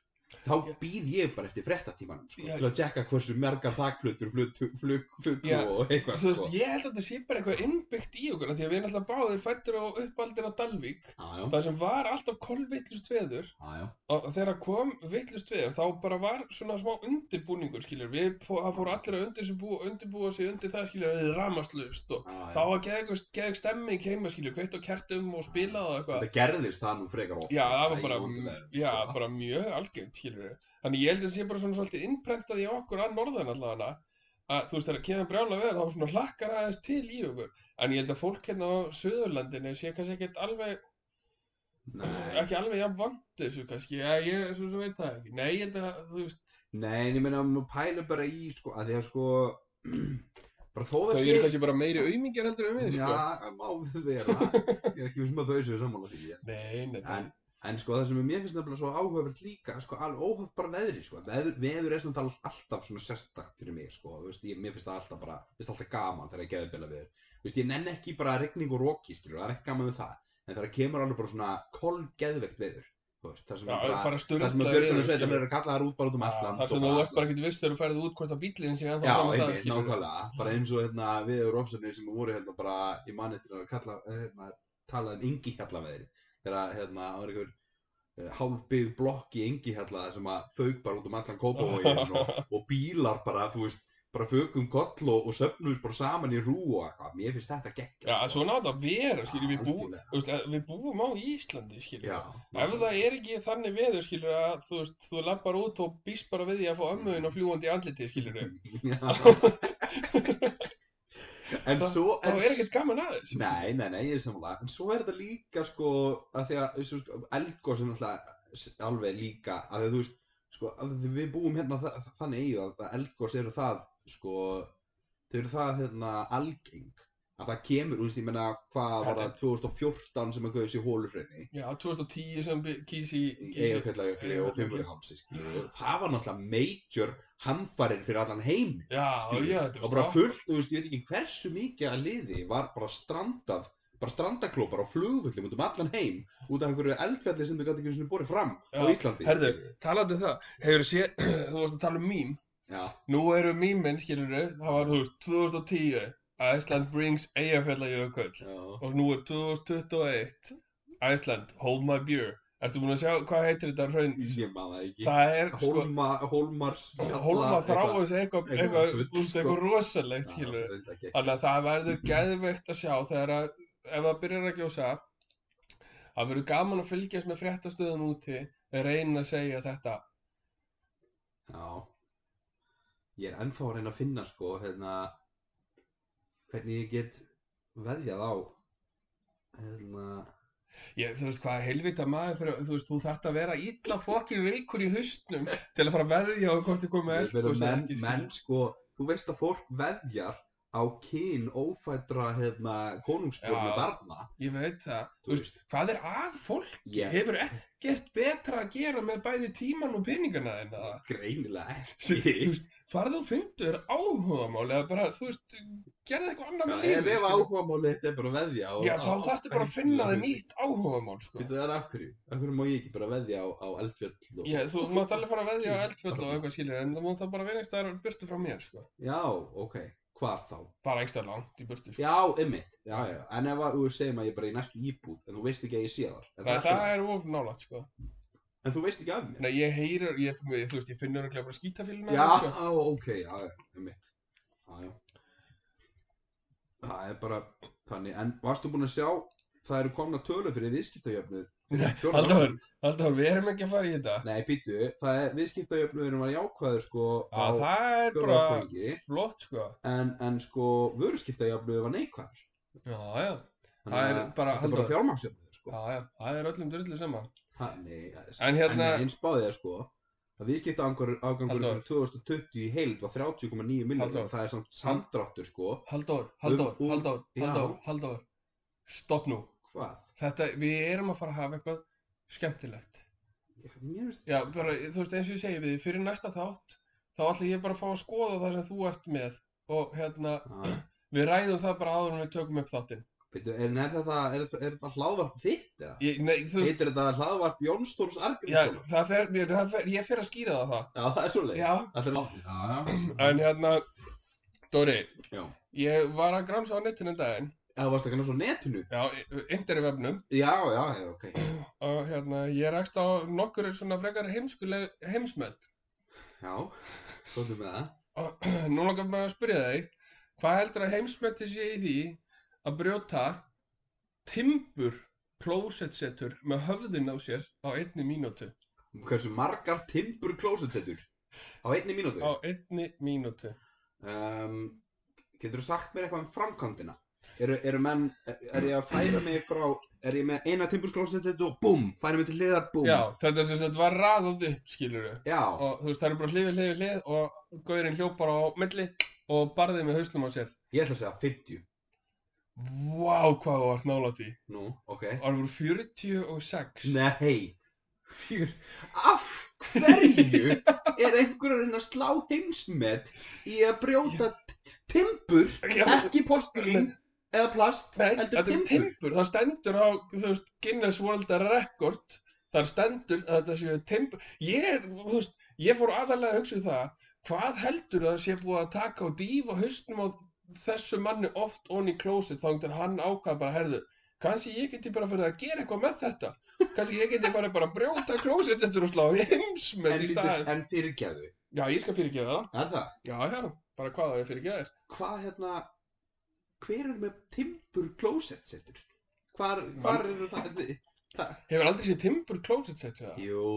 Speaker 2: þá
Speaker 1: Ég-
Speaker 2: býð ég bara eftir frettatímanum sko,
Speaker 1: Já.
Speaker 2: til að tjekka hversu mergar þakflutur flutu, flug, flug
Speaker 1: Já,
Speaker 2: og eitthvað
Speaker 1: þú veist,
Speaker 2: sko.
Speaker 1: ég held að þetta sé bara eitthvað innbyggt í okkur, af því að við erum alltaf báðir fættir og uppaldir á Dalvík
Speaker 2: Já, já,
Speaker 1: það sem var alltaf kolvittlust veður
Speaker 2: já, já,
Speaker 1: og þegar kom vittlust veður þá bara var svona smá undirbúningur skiljur, við fó, það fóru allir að undirbúa, undirbúa sig undir það skiljur eða ramaslust og
Speaker 2: já,
Speaker 1: þá
Speaker 2: já.
Speaker 1: var geðug, geðug stemming heima skiljur, kveitt og kertum og spilað og eitthvað
Speaker 2: þetta gerðist það nú frekar oft sko.
Speaker 1: já, það var
Speaker 2: í
Speaker 1: bara,
Speaker 2: vondum veðrum,
Speaker 1: já,
Speaker 2: sko.
Speaker 1: bara mjög algjönd skiljur, þannig ég held að það sé bara svona svolítið innprentað í okkur að norðan allavega að þú veist þegar kemur brjála veður þá svona hlakkar aðeins til í okkur en ég held að fólk hérna á Suðurlandinu sé kannski ekkert alveg
Speaker 2: Nei.
Speaker 1: ekki alveg jafn vant þessu kannski, ja, ég svo sem veit það ekki nei, ég held að, þú veist,
Speaker 2: Nei, en ég meina, maður pæla bara í, sko, að því að sko, bara þó
Speaker 1: þau
Speaker 2: það
Speaker 1: eru kannski bara meiri auðmingjar heldur en við,
Speaker 2: Já,
Speaker 1: sko
Speaker 2: það má vera, ég er ekki vissum að þau séu sammála því, en
Speaker 1: nei, nei,
Speaker 2: En,
Speaker 1: það,
Speaker 2: en sko það sem mér finnst nefnilega svo áhugavert líka, sko, alveg óhugavert bara veðri, sko, veður, veður er samt all- alltaf svona sérstakt fyrir mig, sko, þú veist, ég, mér finnst það alltaf bara, mér finnst alltaf gaman þegar ég geði bila veður, þú veist, ég nenn ekki bara rigning og roki, skilur, það er ekki gaman við það, en þegar kemur alveg bara svona kolgeðvegt veður, þú veist, það sem
Speaker 1: Já,
Speaker 2: er bara,
Speaker 1: bara
Speaker 2: það sem
Speaker 1: styrla
Speaker 2: að björgunarsveitar eru að kalla þær út bara út um allt land
Speaker 1: Það sem
Speaker 2: og
Speaker 1: þú ert bara ekki viss þegar þú færið út hvort að bílinn sé ennþá á
Speaker 2: Já,
Speaker 1: sama stað,
Speaker 2: einmitt,
Speaker 1: skilurðu.
Speaker 2: nákvæmlega, bara eins og hérna við og Robsonir sem voru hérna bara í mannettir að kalla, hérna, tala um yngi hjalla með þeir þegar hérna, það var einhver eh, hálfbyggð blokk í yngi hjalla sem að fauk bara út um allan kópavógin og, og bílar bara, þú veist, bara fauk um koll og, og söfnuðist bara saman í rú og eitthvað, mér finnst þetta geggjað.
Speaker 1: Já, svona á þetta að vera, skiljum, við, bú,
Speaker 2: sko. Algjörlega.
Speaker 1: þú veist, að við búum á Íslandi,
Speaker 2: Já,
Speaker 1: skiljum. Ef það er ekki þannig veður, skiljum, að þú veist, þú lappar út og býst bara við því að fá ömmuðin og fljúandi í andliti,
Speaker 2: Mm.
Speaker 1: skiljum.
Speaker 2: Já. en
Speaker 1: Það-
Speaker 2: svo
Speaker 1: Þá er ekkert gaman aðeins.
Speaker 2: Nei, nei, nei, ég er samanlega. En svo er þetta líka sko að því að þessu, sko, eldgos er náttúrulega s- alveg líka að því að þú veist sko að því við búum hérna þa þa- þannig eigu að að eldgos eru það sko þau eru það hérna algeng að það kemur, þú veist, ég meina hvað var
Speaker 1: Þetta-
Speaker 2: það 2014 sem að gauðis í hólurhreini
Speaker 1: Já, 2010 sem bi- kýs í...
Speaker 2: í
Speaker 1: kýs í-
Speaker 2: Eyjafjallajökli og Fimmurhálsi
Speaker 1: Já.
Speaker 2: það var náttúrulega major hamfarir fyrir allan heim
Speaker 1: Já,
Speaker 2: skilur,
Speaker 1: já, þetta
Speaker 2: og bara fullt, þú veist, ég veit ekki hversu mikið að liði var bara strandað bara strandaklópar á flugvöllum út um allan heim út af einhverju eldfjalli sem þau gæti ekki einu sinni borið fram á
Speaker 1: Já,
Speaker 2: Íslandi
Speaker 1: herðu. Talandi um það, hefur þú séð, þú varst að tala um mím.
Speaker 2: Já,
Speaker 1: Nú eru míminn, skiljum, það var, þú veist, 2010, Iceland brings Eyjafjallajökull.
Speaker 2: já.
Speaker 1: og nú er 2021 Æsland, hold my beer Ertu búin að sjá, hvað heitir þetta hraun?
Speaker 2: ég maður það ekki
Speaker 1: Það er sko
Speaker 2: Hólma, Hólmars
Speaker 1: Hólma þráið sig eitthvað
Speaker 2: eitthvað
Speaker 1: eitthvað, sko. þú
Speaker 2: bull,
Speaker 1: veist,
Speaker 2: sko.
Speaker 1: eitthvað rosalegt skilur
Speaker 2: skilur
Speaker 1: Þannig að það verður geðveikt að sjá þegar að ef það byrjar að gjósa það verður gaman að fylgjast með fréttastöðum úti reyna að segja þetta
Speaker 2: Já Ég er ennþá að reyna að finna sko hérna hvernig ég get veðjað á hérna
Speaker 1: Ég, þú veist hvað helvita maður fyrir, þú veist, þú þarft að vera illa fokkin veikur í haustnum til að fara að veðja á hvort þið komið
Speaker 2: Ég meina, menn, menn sko, þú veist að fólk veðjar á kyn ófædra hérna konungsbjörna
Speaker 1: Já.
Speaker 2: barna
Speaker 1: Ég veit það,
Speaker 2: þú veist,
Speaker 1: hvað er að fólk
Speaker 2: ég
Speaker 1: hefur ekkert betra að gera með bæði tíman og peningana en að
Speaker 2: greinilega
Speaker 1: þú
Speaker 2: ekki
Speaker 1: veist, farðu og fyndu þér áhugamál eða bara, þú veist, gerðu eitthvað annað með
Speaker 2: ef
Speaker 1: lífið
Speaker 2: ef
Speaker 1: skilur.
Speaker 2: áhugamáli þetta er bara að veðja á,
Speaker 1: Já,
Speaker 2: á,
Speaker 1: þá þarftu bara að finna þér nýtt áhugamál, sko.
Speaker 2: Veitu, það er af hverju, af hverju má ég ekki bara veðja á, á eldfjöll og...
Speaker 1: Já, þú mátt alveg fara að veðja á eldfjöll og
Speaker 2: Þarna.
Speaker 1: eitthvað skilur, en þú mátt það bara vera einhverstaðar burtu frá mér, sko.
Speaker 2: Já, ok, hvar þá?
Speaker 1: Bara einhverstaðar langt í burtu, sko.
Speaker 2: Já, ymmit, já, já, en ef að þú segir maður ég er bara í næstu íbúð, en þú veist ekki að ég sé þar, en,
Speaker 1: Nei,
Speaker 2: það,
Speaker 1: það er of nálægt, sko.
Speaker 2: en þú veist ekki af mér?
Speaker 1: Nei, ég heyrir, ég, þú veist, ég finnur örugglega bara skítafílina,
Speaker 2: Já,
Speaker 1: sko.
Speaker 2: á, ok, já, já, einmitt. Já, já. Það er bara þannig, en varstu búinn að sjá, það eru komna tölur fyrir viðskiptajöfnuð. fyrir fjórða árið?
Speaker 1: sko. Halldór, Halldór, við erum ekki að fara í þetta.
Speaker 2: Nei, býttu, það er viðskiptajöfnuðurinn var jákvæður sko
Speaker 1: Já, það er bara
Speaker 2: fjórðarsfengi,
Speaker 1: flott, sko.
Speaker 2: en, en sko vöruskiptajöfnuður var neikvæður.
Speaker 1: Já, já. Það er bara-
Speaker 2: þetta er bara
Speaker 1: Halldór.
Speaker 2: fjármagsjöfnuður sko.
Speaker 1: Já, já, það er öllum drullu sama.
Speaker 2: Þannig,
Speaker 1: En hérna,
Speaker 2: en eins báðið er sko, að viðskiptaafgangur
Speaker 1: Halldór.
Speaker 2: afgangur 2020 í heild var 30,9 miljónir,
Speaker 1: Halldór.
Speaker 2: það er samt samdráttur sko.
Speaker 1: Halldór, Halldór,
Speaker 2: Um, um,
Speaker 1: Halldór,
Speaker 2: já.
Speaker 1: Halldór, Halldór, stopp nú.
Speaker 2: Hvað?
Speaker 1: Þetta, við erum að fara að hafa eitthvað skemmtilegt.
Speaker 2: Já, Mér finnst Ah,
Speaker 1: Já, bara, þú veist, eins og ég segi við, þig, fyrir næsta þátt, þá ætla ég bara að fá að skoða það sem þú ert með og hérna,
Speaker 2: Já,
Speaker 1: við ræðum það bara áður en við tökum upp þáttinn.
Speaker 2: veitu, en er þetta, er, þetta- er þetta hlaðvarp þitt eða?
Speaker 1: Ég, nei, þú veist,
Speaker 2: Heitir þetta hlaðvarp Jónstórs
Speaker 1: já,
Speaker 2: Argrímsson?
Speaker 1: það fer, mér, það fer, ég fer að skýra það það.
Speaker 2: Já, það er svoleiðis.
Speaker 1: Já,
Speaker 2: Það er látt. Já,
Speaker 1: en hérna, Dóri,
Speaker 2: já.
Speaker 1: ég var að gramsa á netinu en daginn,
Speaker 2: Það varst ekki náttúrulega á netinu?
Speaker 1: já, yndir í vefnum
Speaker 2: Já, já, já, ok.
Speaker 1: og hérna, ég rekst á nokkur svona frekar heimskuleg heimsmynd.
Speaker 2: Já, svolítið með það.
Speaker 1: Og nú langar maður að spyrja þig, hvað heldur að heimsmeti sé í því að brjóta timbur klósetsetur með höfðin á sér á einni mínútu?
Speaker 2: Hversu margar timbur klósetsetur á einni mínútu?
Speaker 1: Á einni mínútu.
Speaker 2: Um, getur þú sagt mér eitthvað um framkvæmdina? Eru, eru menn, er, er ég að færa mig frá, er ég með eina timbur klósetsetu og búm, færa mig til hliðar, búm?
Speaker 1: Já, þetta sem sagt var raðað upp, skilur við.
Speaker 2: Já,
Speaker 1: Og þú veist, það eru bara hlið við hlið við hlið og gaurinn hljóp bara á milli og barðið með hausnum á sér.
Speaker 2: ég ætla að segja 50.
Speaker 1: Vá, hvað þú vart nálægt í.
Speaker 2: Nú, ok.
Speaker 1: Og það voru 46.
Speaker 2: Nei, fjör, af hverju er einhver að reyna að slá heimsmet í að brjóta timbur,
Speaker 1: Já.
Speaker 2: ekki postulín eða plast,
Speaker 1: Nei,
Speaker 2: heldur
Speaker 1: þetta er
Speaker 2: timbur?
Speaker 1: timbur, það stendur á, þú veist, Guinness World Record þar stendur að þetta séu timb... Ég, er, þú veist, ég fór aðalega að hugsa um það, hvað heldur að sé búið að taka og dýfa hausnum á þessu manni oft onni í klósið þá til hann ákvað bara, herðu, kannski ég geti bara fyrir að gera eitthvað með þetta. Kannski ég geti bara, bara að brjóta klósið og slá
Speaker 2: En,
Speaker 1: heimsmet í
Speaker 2: lítið,
Speaker 1: staðin.
Speaker 2: en fyrirgæðu,
Speaker 1: Já, ég skal fyrirgefa það.
Speaker 2: er það?
Speaker 1: Já, já, bara hvað það er fyrirgefa þér.
Speaker 2: Hvað hérna, hver er með timbur klósett setur? Hvar,
Speaker 1: Mann-
Speaker 2: hvar eru það? það?
Speaker 1: Hefur aldrei séð timbur klósið sett við það?
Speaker 2: Jú,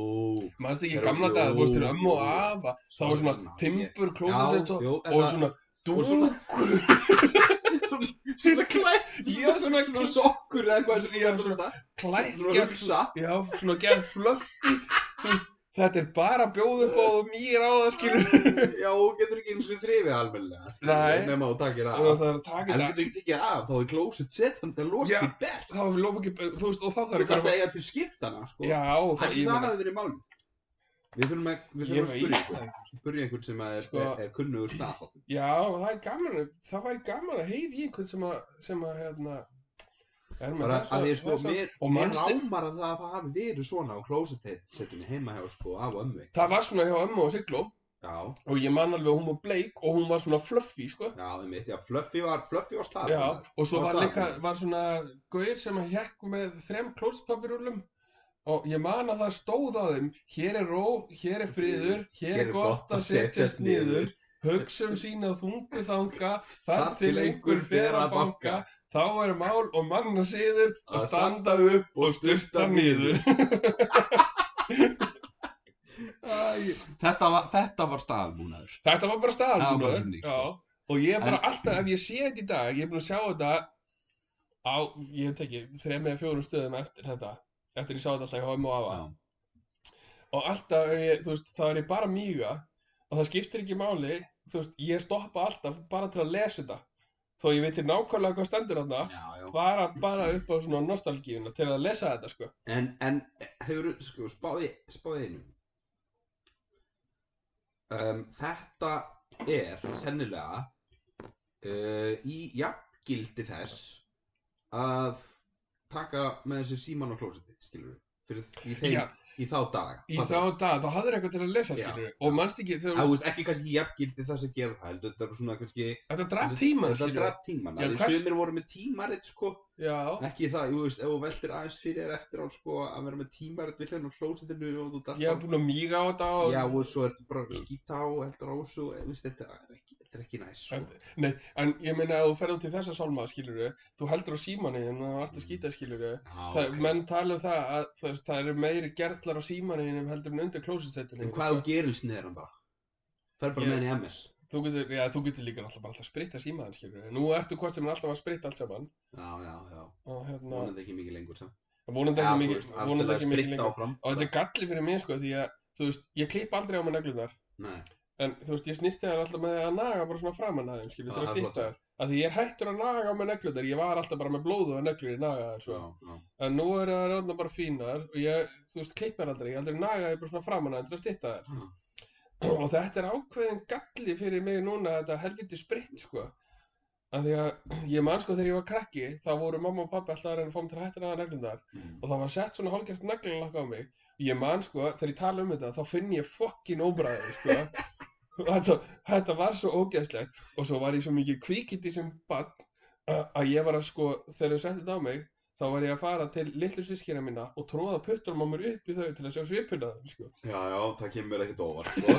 Speaker 1: Manstu ekki í
Speaker 2: Jú,
Speaker 1: gamla dag, þú veist, til
Speaker 2: jú,
Speaker 1: ömmu og
Speaker 2: jú.
Speaker 1: afa, þá var svona timbur klósið
Speaker 2: já,
Speaker 1: sett og
Speaker 2: jú, en
Speaker 1: og
Speaker 2: það-
Speaker 1: svona
Speaker 2: og
Speaker 1: dúr.
Speaker 2: svona, svona, svona klætt,
Speaker 1: Já, svona
Speaker 2: svona
Speaker 1: kl-
Speaker 2: sokkur eða eitthvað sem ég er svona, svona
Speaker 1: klætt, gerð-
Speaker 2: hugsa.
Speaker 1: já, svona gerð flöffi, þú veist, þetta er bara bjóð upp á og mýr á það, skilur.
Speaker 2: Já, þú getur ekki eins og þrifið almennilega,
Speaker 1: Nei.
Speaker 2: nema þú takir
Speaker 1: Og
Speaker 2: af.
Speaker 1: það er að taka
Speaker 2: En þú
Speaker 1: þetta,
Speaker 2: getur ekki tekið af, þá er klósett sett, þannig að loka
Speaker 1: Já.
Speaker 2: í berð.
Speaker 1: þá er lópa ekki, þú veist, og það þarf
Speaker 2: Þú þarf
Speaker 1: eitthvað að,
Speaker 2: að eiga til skiptana, sko.
Speaker 1: já, og það,
Speaker 2: Ætli
Speaker 1: ég
Speaker 2: það
Speaker 1: meina,
Speaker 2: hafi verið málið. Við þurfum að, við
Speaker 1: ég
Speaker 2: þurfum
Speaker 1: veit
Speaker 2: að spyrja
Speaker 1: það
Speaker 2: einhvern,
Speaker 1: ekki.
Speaker 2: spyrja einhvern sem að er,
Speaker 1: Sko-
Speaker 2: er, er kunnugur staðháttum.
Speaker 1: Já, það er gaman, það væri gaman að heyri í einhvern sem að, sem að, hérna, er með
Speaker 2: Bara
Speaker 1: þessa-
Speaker 2: að því sko,
Speaker 1: þessa-
Speaker 2: mér,
Speaker 1: og
Speaker 2: mér
Speaker 1: manstu-
Speaker 2: rámar að það hafi verið svona á klósettettunni heima hjá sko, af og ömmu.
Speaker 1: það var svona hjá ömmu og siglu
Speaker 2: Já,
Speaker 1: og ég man alveg að hún var bleik og hún var svona fluffy, sko.
Speaker 2: já, það mitt, já, Fluffy var, Fluffy var staðháttum.
Speaker 1: Já, og svo
Speaker 2: Og
Speaker 1: Ah, var líka,
Speaker 2: stafurinn.
Speaker 1: var svona gauðir sem að hjekk með þrem klósetpapirúlum og ég man að það stóð á þeim hér er ró, hér er friður, hér er gott að setjast niður hugsa um sína þungu þanga þar til einhver fer að banka þá er mál og manna síður að standa upp og styrta niður
Speaker 2: Æ, þetta var, þetta var staðbúnaður.
Speaker 1: Þetta var bara
Speaker 2: Það var bara
Speaker 1: staðalbúnaður
Speaker 2: þannig, sko.
Speaker 1: Já, og ég er bara
Speaker 2: En-
Speaker 1: alltaf, ef ég sé þetta í dag, ég er búin að sjá þetta á, ég veit ekki, þrem eða fjórum stöðum eftir þetta, eftir ég sá þetta alltaf hjá ömmu og afa.
Speaker 2: Já.
Speaker 1: Og alltaf, ef ég, þú veist, þá er ég bara að míga og það skiptir ekki máli, þú veist, ég stoppa alltaf bara til að lesa þetta. Þó ég veitir nákvæmlega hvað stendur þarna,
Speaker 2: Já, já.
Speaker 1: bara, bara upp á svona nostalgíuna til að lesa þetta, sko.
Speaker 2: En, en hefur, sko, spáði, spáði einu. Um, þetta er sennilega uh, í jafngildi þess að taka með þessi síman á klósetti, skilur við, fyrir í, þeim,
Speaker 1: Já.
Speaker 2: í þá daga.
Speaker 1: Í þá dag, þá hafður eitthvað til að lesa,
Speaker 2: Já.
Speaker 1: skilur og mannst ekki, þú
Speaker 2: Það
Speaker 1: veist,
Speaker 2: veist ekki kannski í jafngildi þess að gera það, heldur þetta er svona kannski...
Speaker 1: þetta draf tíman,
Speaker 2: Þetta
Speaker 1: skilur
Speaker 2: draf tíman,
Speaker 1: Já,
Speaker 2: að því
Speaker 1: hvers-
Speaker 2: sömur voru með tímarit, sko,
Speaker 1: Já,
Speaker 2: ekki það, jú veist, ef þú veltir aðeins fyrir þér eftir á, sko, að vera með tímarit við hérna á klósettinu og þú
Speaker 1: ég hef búin að míga á þetta og
Speaker 2: Já, og svo ertu bara að skýta á, heldur á þessu, og, þú veist, þetta er ekki, þetta er ekki næs, sko.
Speaker 1: Nei, en ég meina að þú ferð út í þessa sálma, skilur þú heldur á símanni en það vart að skýta, skilur við,
Speaker 2: Já,
Speaker 1: okay. menn tala um það að það, það eru meiri gerlar á símanni en heldur en undir klósetsettinu.
Speaker 2: En hvað ef þú gerir snið hann bara? Fer bara
Speaker 1: Ég-
Speaker 2: með henni í MS.
Speaker 1: Þú getur, já, þú getur líka alltaf bara alltaf spritta símann, skilur Nú ertu hvort sem er alltaf að spritta allt saman
Speaker 2: Já, já, já.
Speaker 1: og hérna,
Speaker 2: Vonandi ekki mikið lengur, sem.
Speaker 1: vonandi ekki mikið, vonandi ekki mikið
Speaker 2: lengur.
Speaker 1: lengur.
Speaker 2: Áfram.
Speaker 1: Og þetta er galli fyrir mér, sko, því að, þú veist, ég klipp aldrei á mig neglunar,
Speaker 2: Nei,
Speaker 1: en þú veist, ég snýtti þær alltaf með því að naga bara svona framan að þeim, skilur,
Speaker 2: Já,
Speaker 1: til að
Speaker 2: það er flott.
Speaker 1: stýtta þær. Að því ég er hættur að naga á mig neglunar, ég var alltaf bara með blóðu að neglur í naga þær,
Speaker 2: já,
Speaker 1: svo.
Speaker 2: já.
Speaker 1: En nú eru það rönda bara fínar og ég, þú veist, klippar aldrei, ég aldrei naga þau bara svona framan aðeins til að stytta þær.
Speaker 2: Já.
Speaker 1: Og þetta er ákveðin galli fyrir mig núna, þetta helviti spritt, sko. Af því að ég man sko þegar ég var krakki, þá voru mamma og pappi alltaf að reyna að fá mig til að hætta næða neglundar
Speaker 2: Mm.
Speaker 1: og það var sett svona hálfgjart neglunlakk á mig. Og Ég man sko, þegar ég tala um þetta, þá finn ég fokkin óbræðið, sko. Og þetta, þetta var svo ógeðslegt og svo var ég svo mikið kvikindi sem bann að ég var að sko, þegar þau setti þetta á mig þá var ég að fara til litlu sískina mína og tróða puttunum á mér upp í þau til að sjá svipuna á þeim sko.
Speaker 2: Já, já, það kemur ekkert óvart, sko.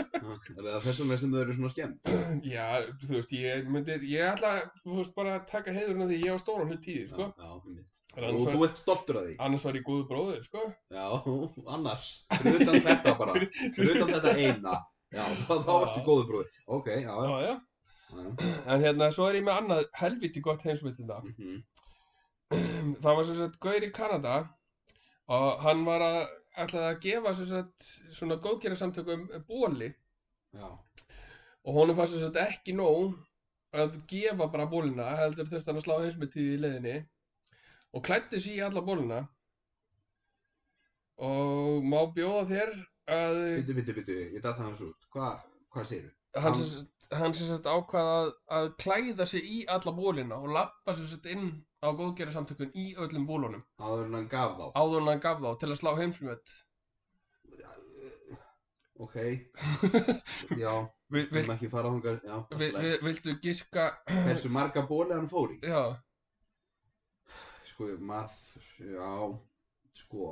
Speaker 2: Já, er það þess vegna sem þau eru svona skemmt?
Speaker 1: Já, þú veist, ég myndi, ég ætla þú veist, bara að taka heiðurinn af því ég á stóran hlut tíði, sko.
Speaker 2: Já, já, einmitt.
Speaker 1: En
Speaker 2: Og
Speaker 1: Annars var,
Speaker 2: þú ert stoltur af því?
Speaker 1: annars var ég góðu bróðir, sko.
Speaker 2: Já, annars. Fyrir utan þetta bara.
Speaker 1: Fyrir-
Speaker 2: Fyrir utan þetta eina. Já, þá þá
Speaker 1: Já.
Speaker 2: ertu góður bróðir. Ok, já, já.
Speaker 1: Já, já.
Speaker 2: já.
Speaker 1: En hérna, svo er ég með annað helviti gott heimsmyndinda.
Speaker 2: Mhm.
Speaker 1: það var sem sagt gaur í Kanada og hann var að ætlaði að gefa sem sagt svona góðgera samtökum bóli
Speaker 2: Já,
Speaker 1: og honum fannst sem sagt ekki nóg að gefa bara bólina heldur þurfti hann að slá heimsmyndtíð í leiðinni og klætti sig í alla bólina og má bjóða þér að
Speaker 2: byttu, byttu, byttu, ég datt það hans út. Hva, hvað segirðu?
Speaker 1: hann sem sagt- hann sem sagt ákvað að, að klæða sig í alla bólina og lappa sem sagt inn á góðgerðarsamtökun í öllum bólunum
Speaker 2: áður en hann gaf þá
Speaker 1: áður en hann gaf þá til að slá heimsmet
Speaker 2: ok já,
Speaker 1: vil,
Speaker 2: við
Speaker 1: vil,
Speaker 2: erum ekki fara þangað já, allt í
Speaker 1: vil,
Speaker 2: lagi.
Speaker 1: vil, viltu giska
Speaker 2: hversu marga bóli hann fór í
Speaker 1: já,
Speaker 2: sko, maður, já sko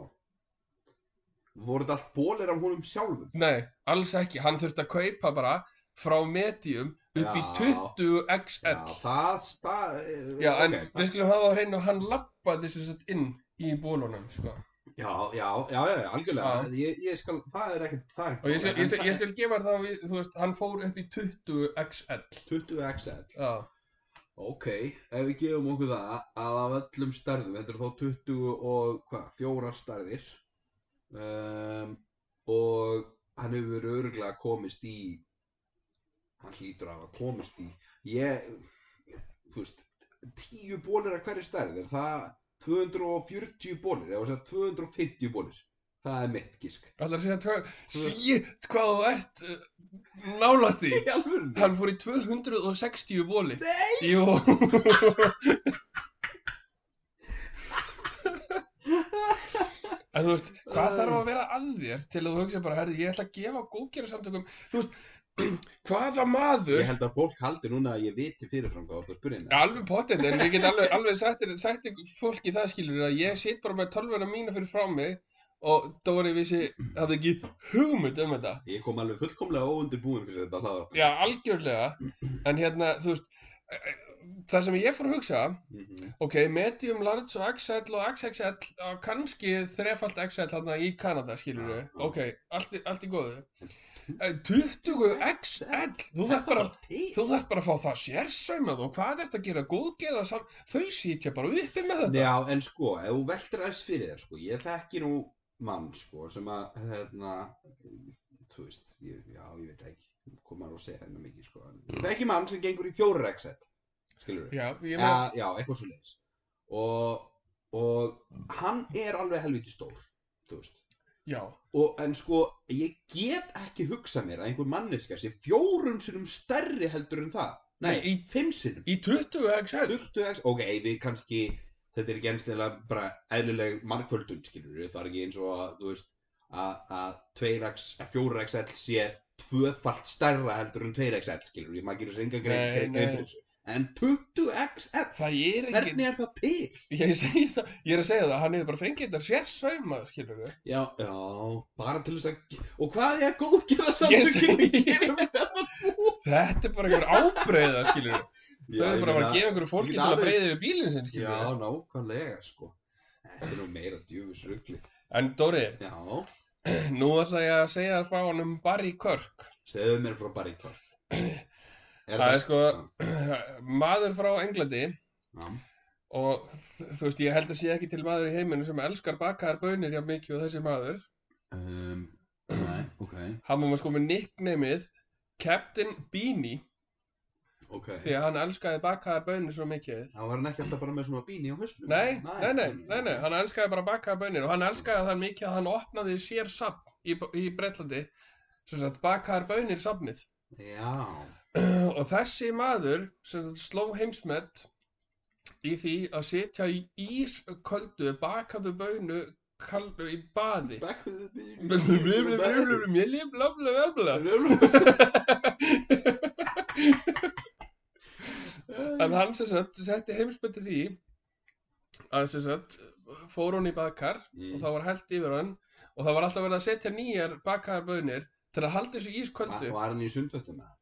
Speaker 2: voru þetta allt bólir af honum sjálfum
Speaker 1: nei, alls ekki hann þurfti að kaupa bara frá medium upp í
Speaker 2: Já.
Speaker 1: 20xl
Speaker 2: já, það eh, stað
Speaker 1: Já, en við skulum hafa á hreinu hann lappaði sem sagt inn í bólunum, sko.
Speaker 2: já, já, já, já, algjörlega
Speaker 1: Já.
Speaker 2: Ég, ég skal, það er ekkert það er ekkert
Speaker 1: Og ég skal,
Speaker 2: mál,
Speaker 1: ég
Speaker 2: en
Speaker 1: skal,
Speaker 2: það
Speaker 1: ég skal gefa þér það, við- þú veist, hann fór upp í 20xl.
Speaker 2: er 20 XL
Speaker 1: Já,
Speaker 2: Ok, ef við gefum okkur það að af öllum stærðum, þetta eru þá 20 og hvað, fjórar stærðir um, og hann hefur örgulega komist í, hann hlýtur að hafa komist í, ég, þú veist, 10 bólir að hverju stærð, er það 240 bólir, eða þess að 250 bólir, það er mitt gísk.
Speaker 1: ætlar að segja, tvö-
Speaker 2: Tvö-
Speaker 1: sítt hvað þú ert uh, nálægt því.
Speaker 2: Í alvörunni?
Speaker 1: Hann fór í 260 bóli. Nei! Jú, en þú veist, hvað þarf að vera að þér til að þú hugsa bara, herði, ég ætla að gefa góðgerðarsamtökum, þú veist, hvaða maður
Speaker 2: Ég held að fólk haldi núna að ég viti fyrirfram hvað þú ert að spyrja um.
Speaker 1: Ja, Alveg pottet, en ég get alveg, alveg sagt, þér- sagt ykkur- fólki það skilur að ég sit bara með tölvuna mína fyrir frá mig og Dóri vissi hafði ekki hugmynd um þetta.
Speaker 2: Ég kom alveg fullkomlega óundirbúin fyrir þetta hlaðar.
Speaker 1: Já, algjörlega, en hérna, þú veist, það sem ég fór að hugsa,
Speaker 2: Mhm.
Speaker 1: ok, medium, large og XL og XXL og kannski þrefald XL hérna í Kanada, skilur
Speaker 2: Já, Mhm. já.
Speaker 1: ok, allt, í- allt í góðu. Eh, 20 XL, þú þarf bara Þú þarft bara að fá það sérsaumað og hvað ert að gera góðgerða samt, þau sitja bara uppi með þetta.
Speaker 2: Já, en sko, ef þú veltir aðeins fyrir þér, sko, ég þekki nú mann, sko, sem að, hérna, þú veist, ég, já, ég veit ekki, komar og segja hennar mikið, sko, en ég þekki mann sem gengur í fjóra exet, skilur við,
Speaker 1: Já, Mm. ég meina,
Speaker 2: Eh, já, já, eitthvað svo leiðis, og, og hann er alveg helviti stór, þú veist,
Speaker 1: já,
Speaker 2: og, en sko, ég get ekki hugsað mér að einhver manneska sé fjórum sinnum stærri heldur en það, nei,
Speaker 1: Nei, í-
Speaker 2: fimm sinnum.
Speaker 1: í 20 XL,
Speaker 2: 20x, ok, við kannski þetta er ekki ennstilega bara eðlileg markvöldun, skilur við, það er ekki eins og að, þú veist, að að 2x, að 4xl sé tvöfalt stærra heldur en 2xl, skilur við, maður gerur sér engan grein
Speaker 1: Nei,
Speaker 2: grein- grein
Speaker 1: nei.
Speaker 2: fyrir þessu, en 20xl,
Speaker 1: það er ekki,
Speaker 2: hvernig er það til?
Speaker 1: ég segi það, ég er að segja það, hann hefur bara fengið þetta sérsaumað, skilur við.
Speaker 2: Já, já, bara til þess að, og hvað er góðgerða
Speaker 1: Ég
Speaker 2: samtökin að
Speaker 1: segi-
Speaker 2: gera með það?
Speaker 1: Þetta er bara einhver ábreyða, skilur við. Þau
Speaker 2: Já,
Speaker 1: eru
Speaker 2: ég
Speaker 1: bara að fara
Speaker 2: meina-
Speaker 1: að gefa einhverju fólki
Speaker 2: ég
Speaker 1: til
Speaker 2: get
Speaker 1: að
Speaker 2: alveg-
Speaker 1: breyða við bílinn sinn, skilur
Speaker 2: Já,
Speaker 1: við.
Speaker 2: nákvæmlega, sko, þetta er nú meira djúfis rugli,
Speaker 1: En Dóri,
Speaker 2: já,
Speaker 1: nú ætla ég að segja þér frá hann um Barry Kirk.
Speaker 2: segðu mér frá baríkvar. Er
Speaker 1: Það er sko, maður frá Englandi
Speaker 2: Já.
Speaker 1: og þ- þú veist, ég held að sé ekki til maður í heiminu sem elskar bakaðar bönir hjá mikið og þessi maður. Ehm,
Speaker 2: Um, nei, ok,
Speaker 1: hann var sko með nicknameið Captain Beanie
Speaker 2: ok.
Speaker 1: því að hann elskaði bakaðar bönir svo mikið
Speaker 2: Þá var hann ekki alltaf bara með svona bíni á hausnum?
Speaker 1: nei, nei, nei, nei, nei, hann elskaði bara bakaðar bönir og hann elskaði það mikið að hann opnaði sér safn í, í Bretlandi sem sagt bakaðar bönir safnið
Speaker 2: Já,
Speaker 1: og þessi maður sem sagt sló heimsmet í því að sitja í ísköldu bakaðu bönu kaldu í baði
Speaker 2: back with the bíni.
Speaker 1: en hann sem sagt setti heimsmyndi því að sem sagt fór hún í bakar og það var held yfir hann og það var alltaf verið að setja nýjar bakaðar bönir til að halda þessu ísköldu
Speaker 2: Var hann í sundvöttum eða?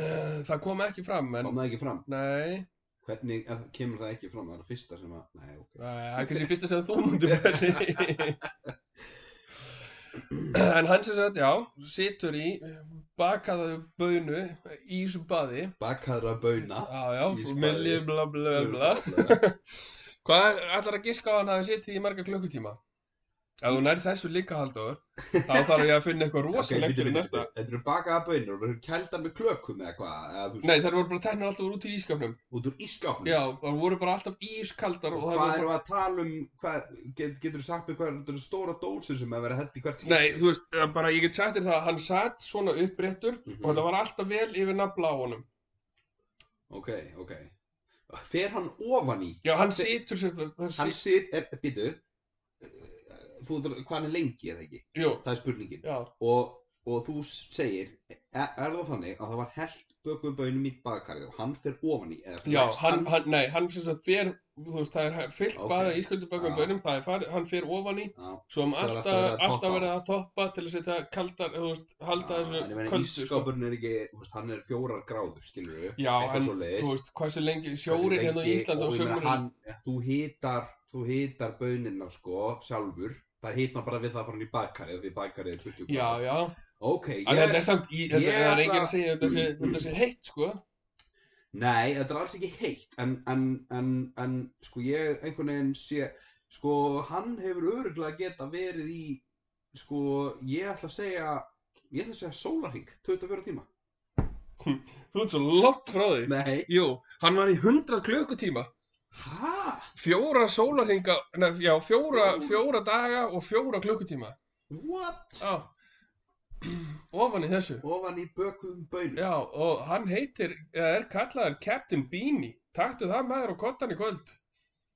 Speaker 1: uh, það kom ekki fram en
Speaker 2: Kom það ekki fram?
Speaker 1: nei,
Speaker 2: Hvernig er, kemur það ekki fram? Það er það fyrsta sem að, nei, ok.
Speaker 1: það er kannski fyrst að segja þú múndum þessi en hann sem sagt, já situr í bakaðu bönu í þessu baði
Speaker 2: Bakkaðra bauna.
Speaker 1: já, já,
Speaker 2: Ísbaði.
Speaker 1: með lið bla bla bla bla Hvað ætlar að giska á hann hafi setið í marga klukkutíma? Ef þú nærð þessu líka haldur, þá þarf ég að finna eitthvað rosalegt fyrir næsta.
Speaker 2: Þetta eru bakaða bönir og það eru keldar með klökum eða hvað, eða þú veist,
Speaker 1: Nei, þær voru bara teknar alltaf úr út í ískapnum.
Speaker 2: út úr ískapnum.
Speaker 1: Já, þær voru bara alltaf ískaldar og
Speaker 2: Og
Speaker 1: þær
Speaker 2: hvað
Speaker 1: voru bara...
Speaker 2: erum við að tala um, hvað, get, getur þú sagt mér hvað þetta eru stóra dósir sem að vera held í hvert skipti?
Speaker 1: Nei, þú veist, eh, bara ég get sagt þér það að hann satt svona uppréttur og
Speaker 2: Mm.
Speaker 1: þetta var alltaf vel yfir nafla á honum.
Speaker 2: Mhm. Ok, ok. Fer hann ofan í?
Speaker 1: Já, hann situr sér það, það
Speaker 2: Hann
Speaker 1: situr,
Speaker 2: sit, er, býtu, fúður, hvað hann er lengi eða ekki?
Speaker 1: jú,
Speaker 2: Það er spurningin.
Speaker 1: já,
Speaker 2: Og, og þú segir, er, er það þannig að það var held bökum bönum í bakakarið og hann fer ofan í? Eða, þú
Speaker 1: já,
Speaker 2: veist,
Speaker 1: hann, hann, nei, hann sem sagt fer, þú veist, það er fyllt
Speaker 2: Ok.
Speaker 1: okay. baða ísköldubökum
Speaker 2: Já.
Speaker 1: bönum, það er farið, hann fer ofan í,
Speaker 2: Já,
Speaker 1: svo um
Speaker 2: Svo er
Speaker 1: alltaf, alltaf
Speaker 2: alltaf verið að toppa. Ah,
Speaker 1: verið að toppa til að setja kaldar, þú veist, halda
Speaker 2: en ég
Speaker 1: þessu
Speaker 2: meina,
Speaker 1: köldu, sko.
Speaker 2: ísskápurinn er ekki, þú veist, hann er fjórar gráður, skilur við,
Speaker 1: Já, en,
Speaker 2: svo
Speaker 1: þú veist, hversu lengi, sjórinn hérna á Íslandi á sömurinn.
Speaker 2: hann, þú hitar, þú hitar bönina, sko, sjálfur, það hitna bara við það frá hann í bakkarið, því bakkarið er 20
Speaker 1: Já, já,
Speaker 2: Ok,
Speaker 1: en þetta
Speaker 2: sko. ég,
Speaker 1: er samt, í, þetta
Speaker 2: ég
Speaker 1: það er
Speaker 2: ætla-
Speaker 1: enginn að segja þetta sé, þetta sé heitt, sko.
Speaker 2: nei, þetta er alls ekki heitt, en, en, en, en, sko, ég einhvern veginn sé, sko, hann hefur öruglega geta verið í, sko, ég ætla að segja, ég ætla að segja sólarhing, 24 tíma.
Speaker 1: Þú ert svo langt frá því.
Speaker 2: Nei.
Speaker 1: Jú, hann var í 100 klukkutíma,
Speaker 2: Hæ?
Speaker 1: fjóra sólarhinga, nef, já, fjóra,
Speaker 2: Fjóra.
Speaker 1: fjóra daga og fjóra klukkutíma.
Speaker 2: What?
Speaker 1: Já, ofan í þessu.
Speaker 2: ofan í bökuðum bönum
Speaker 1: Já, og hann heitir, eða er kallaður Captain Beanie. Taktu það maður og kottan í kvöld.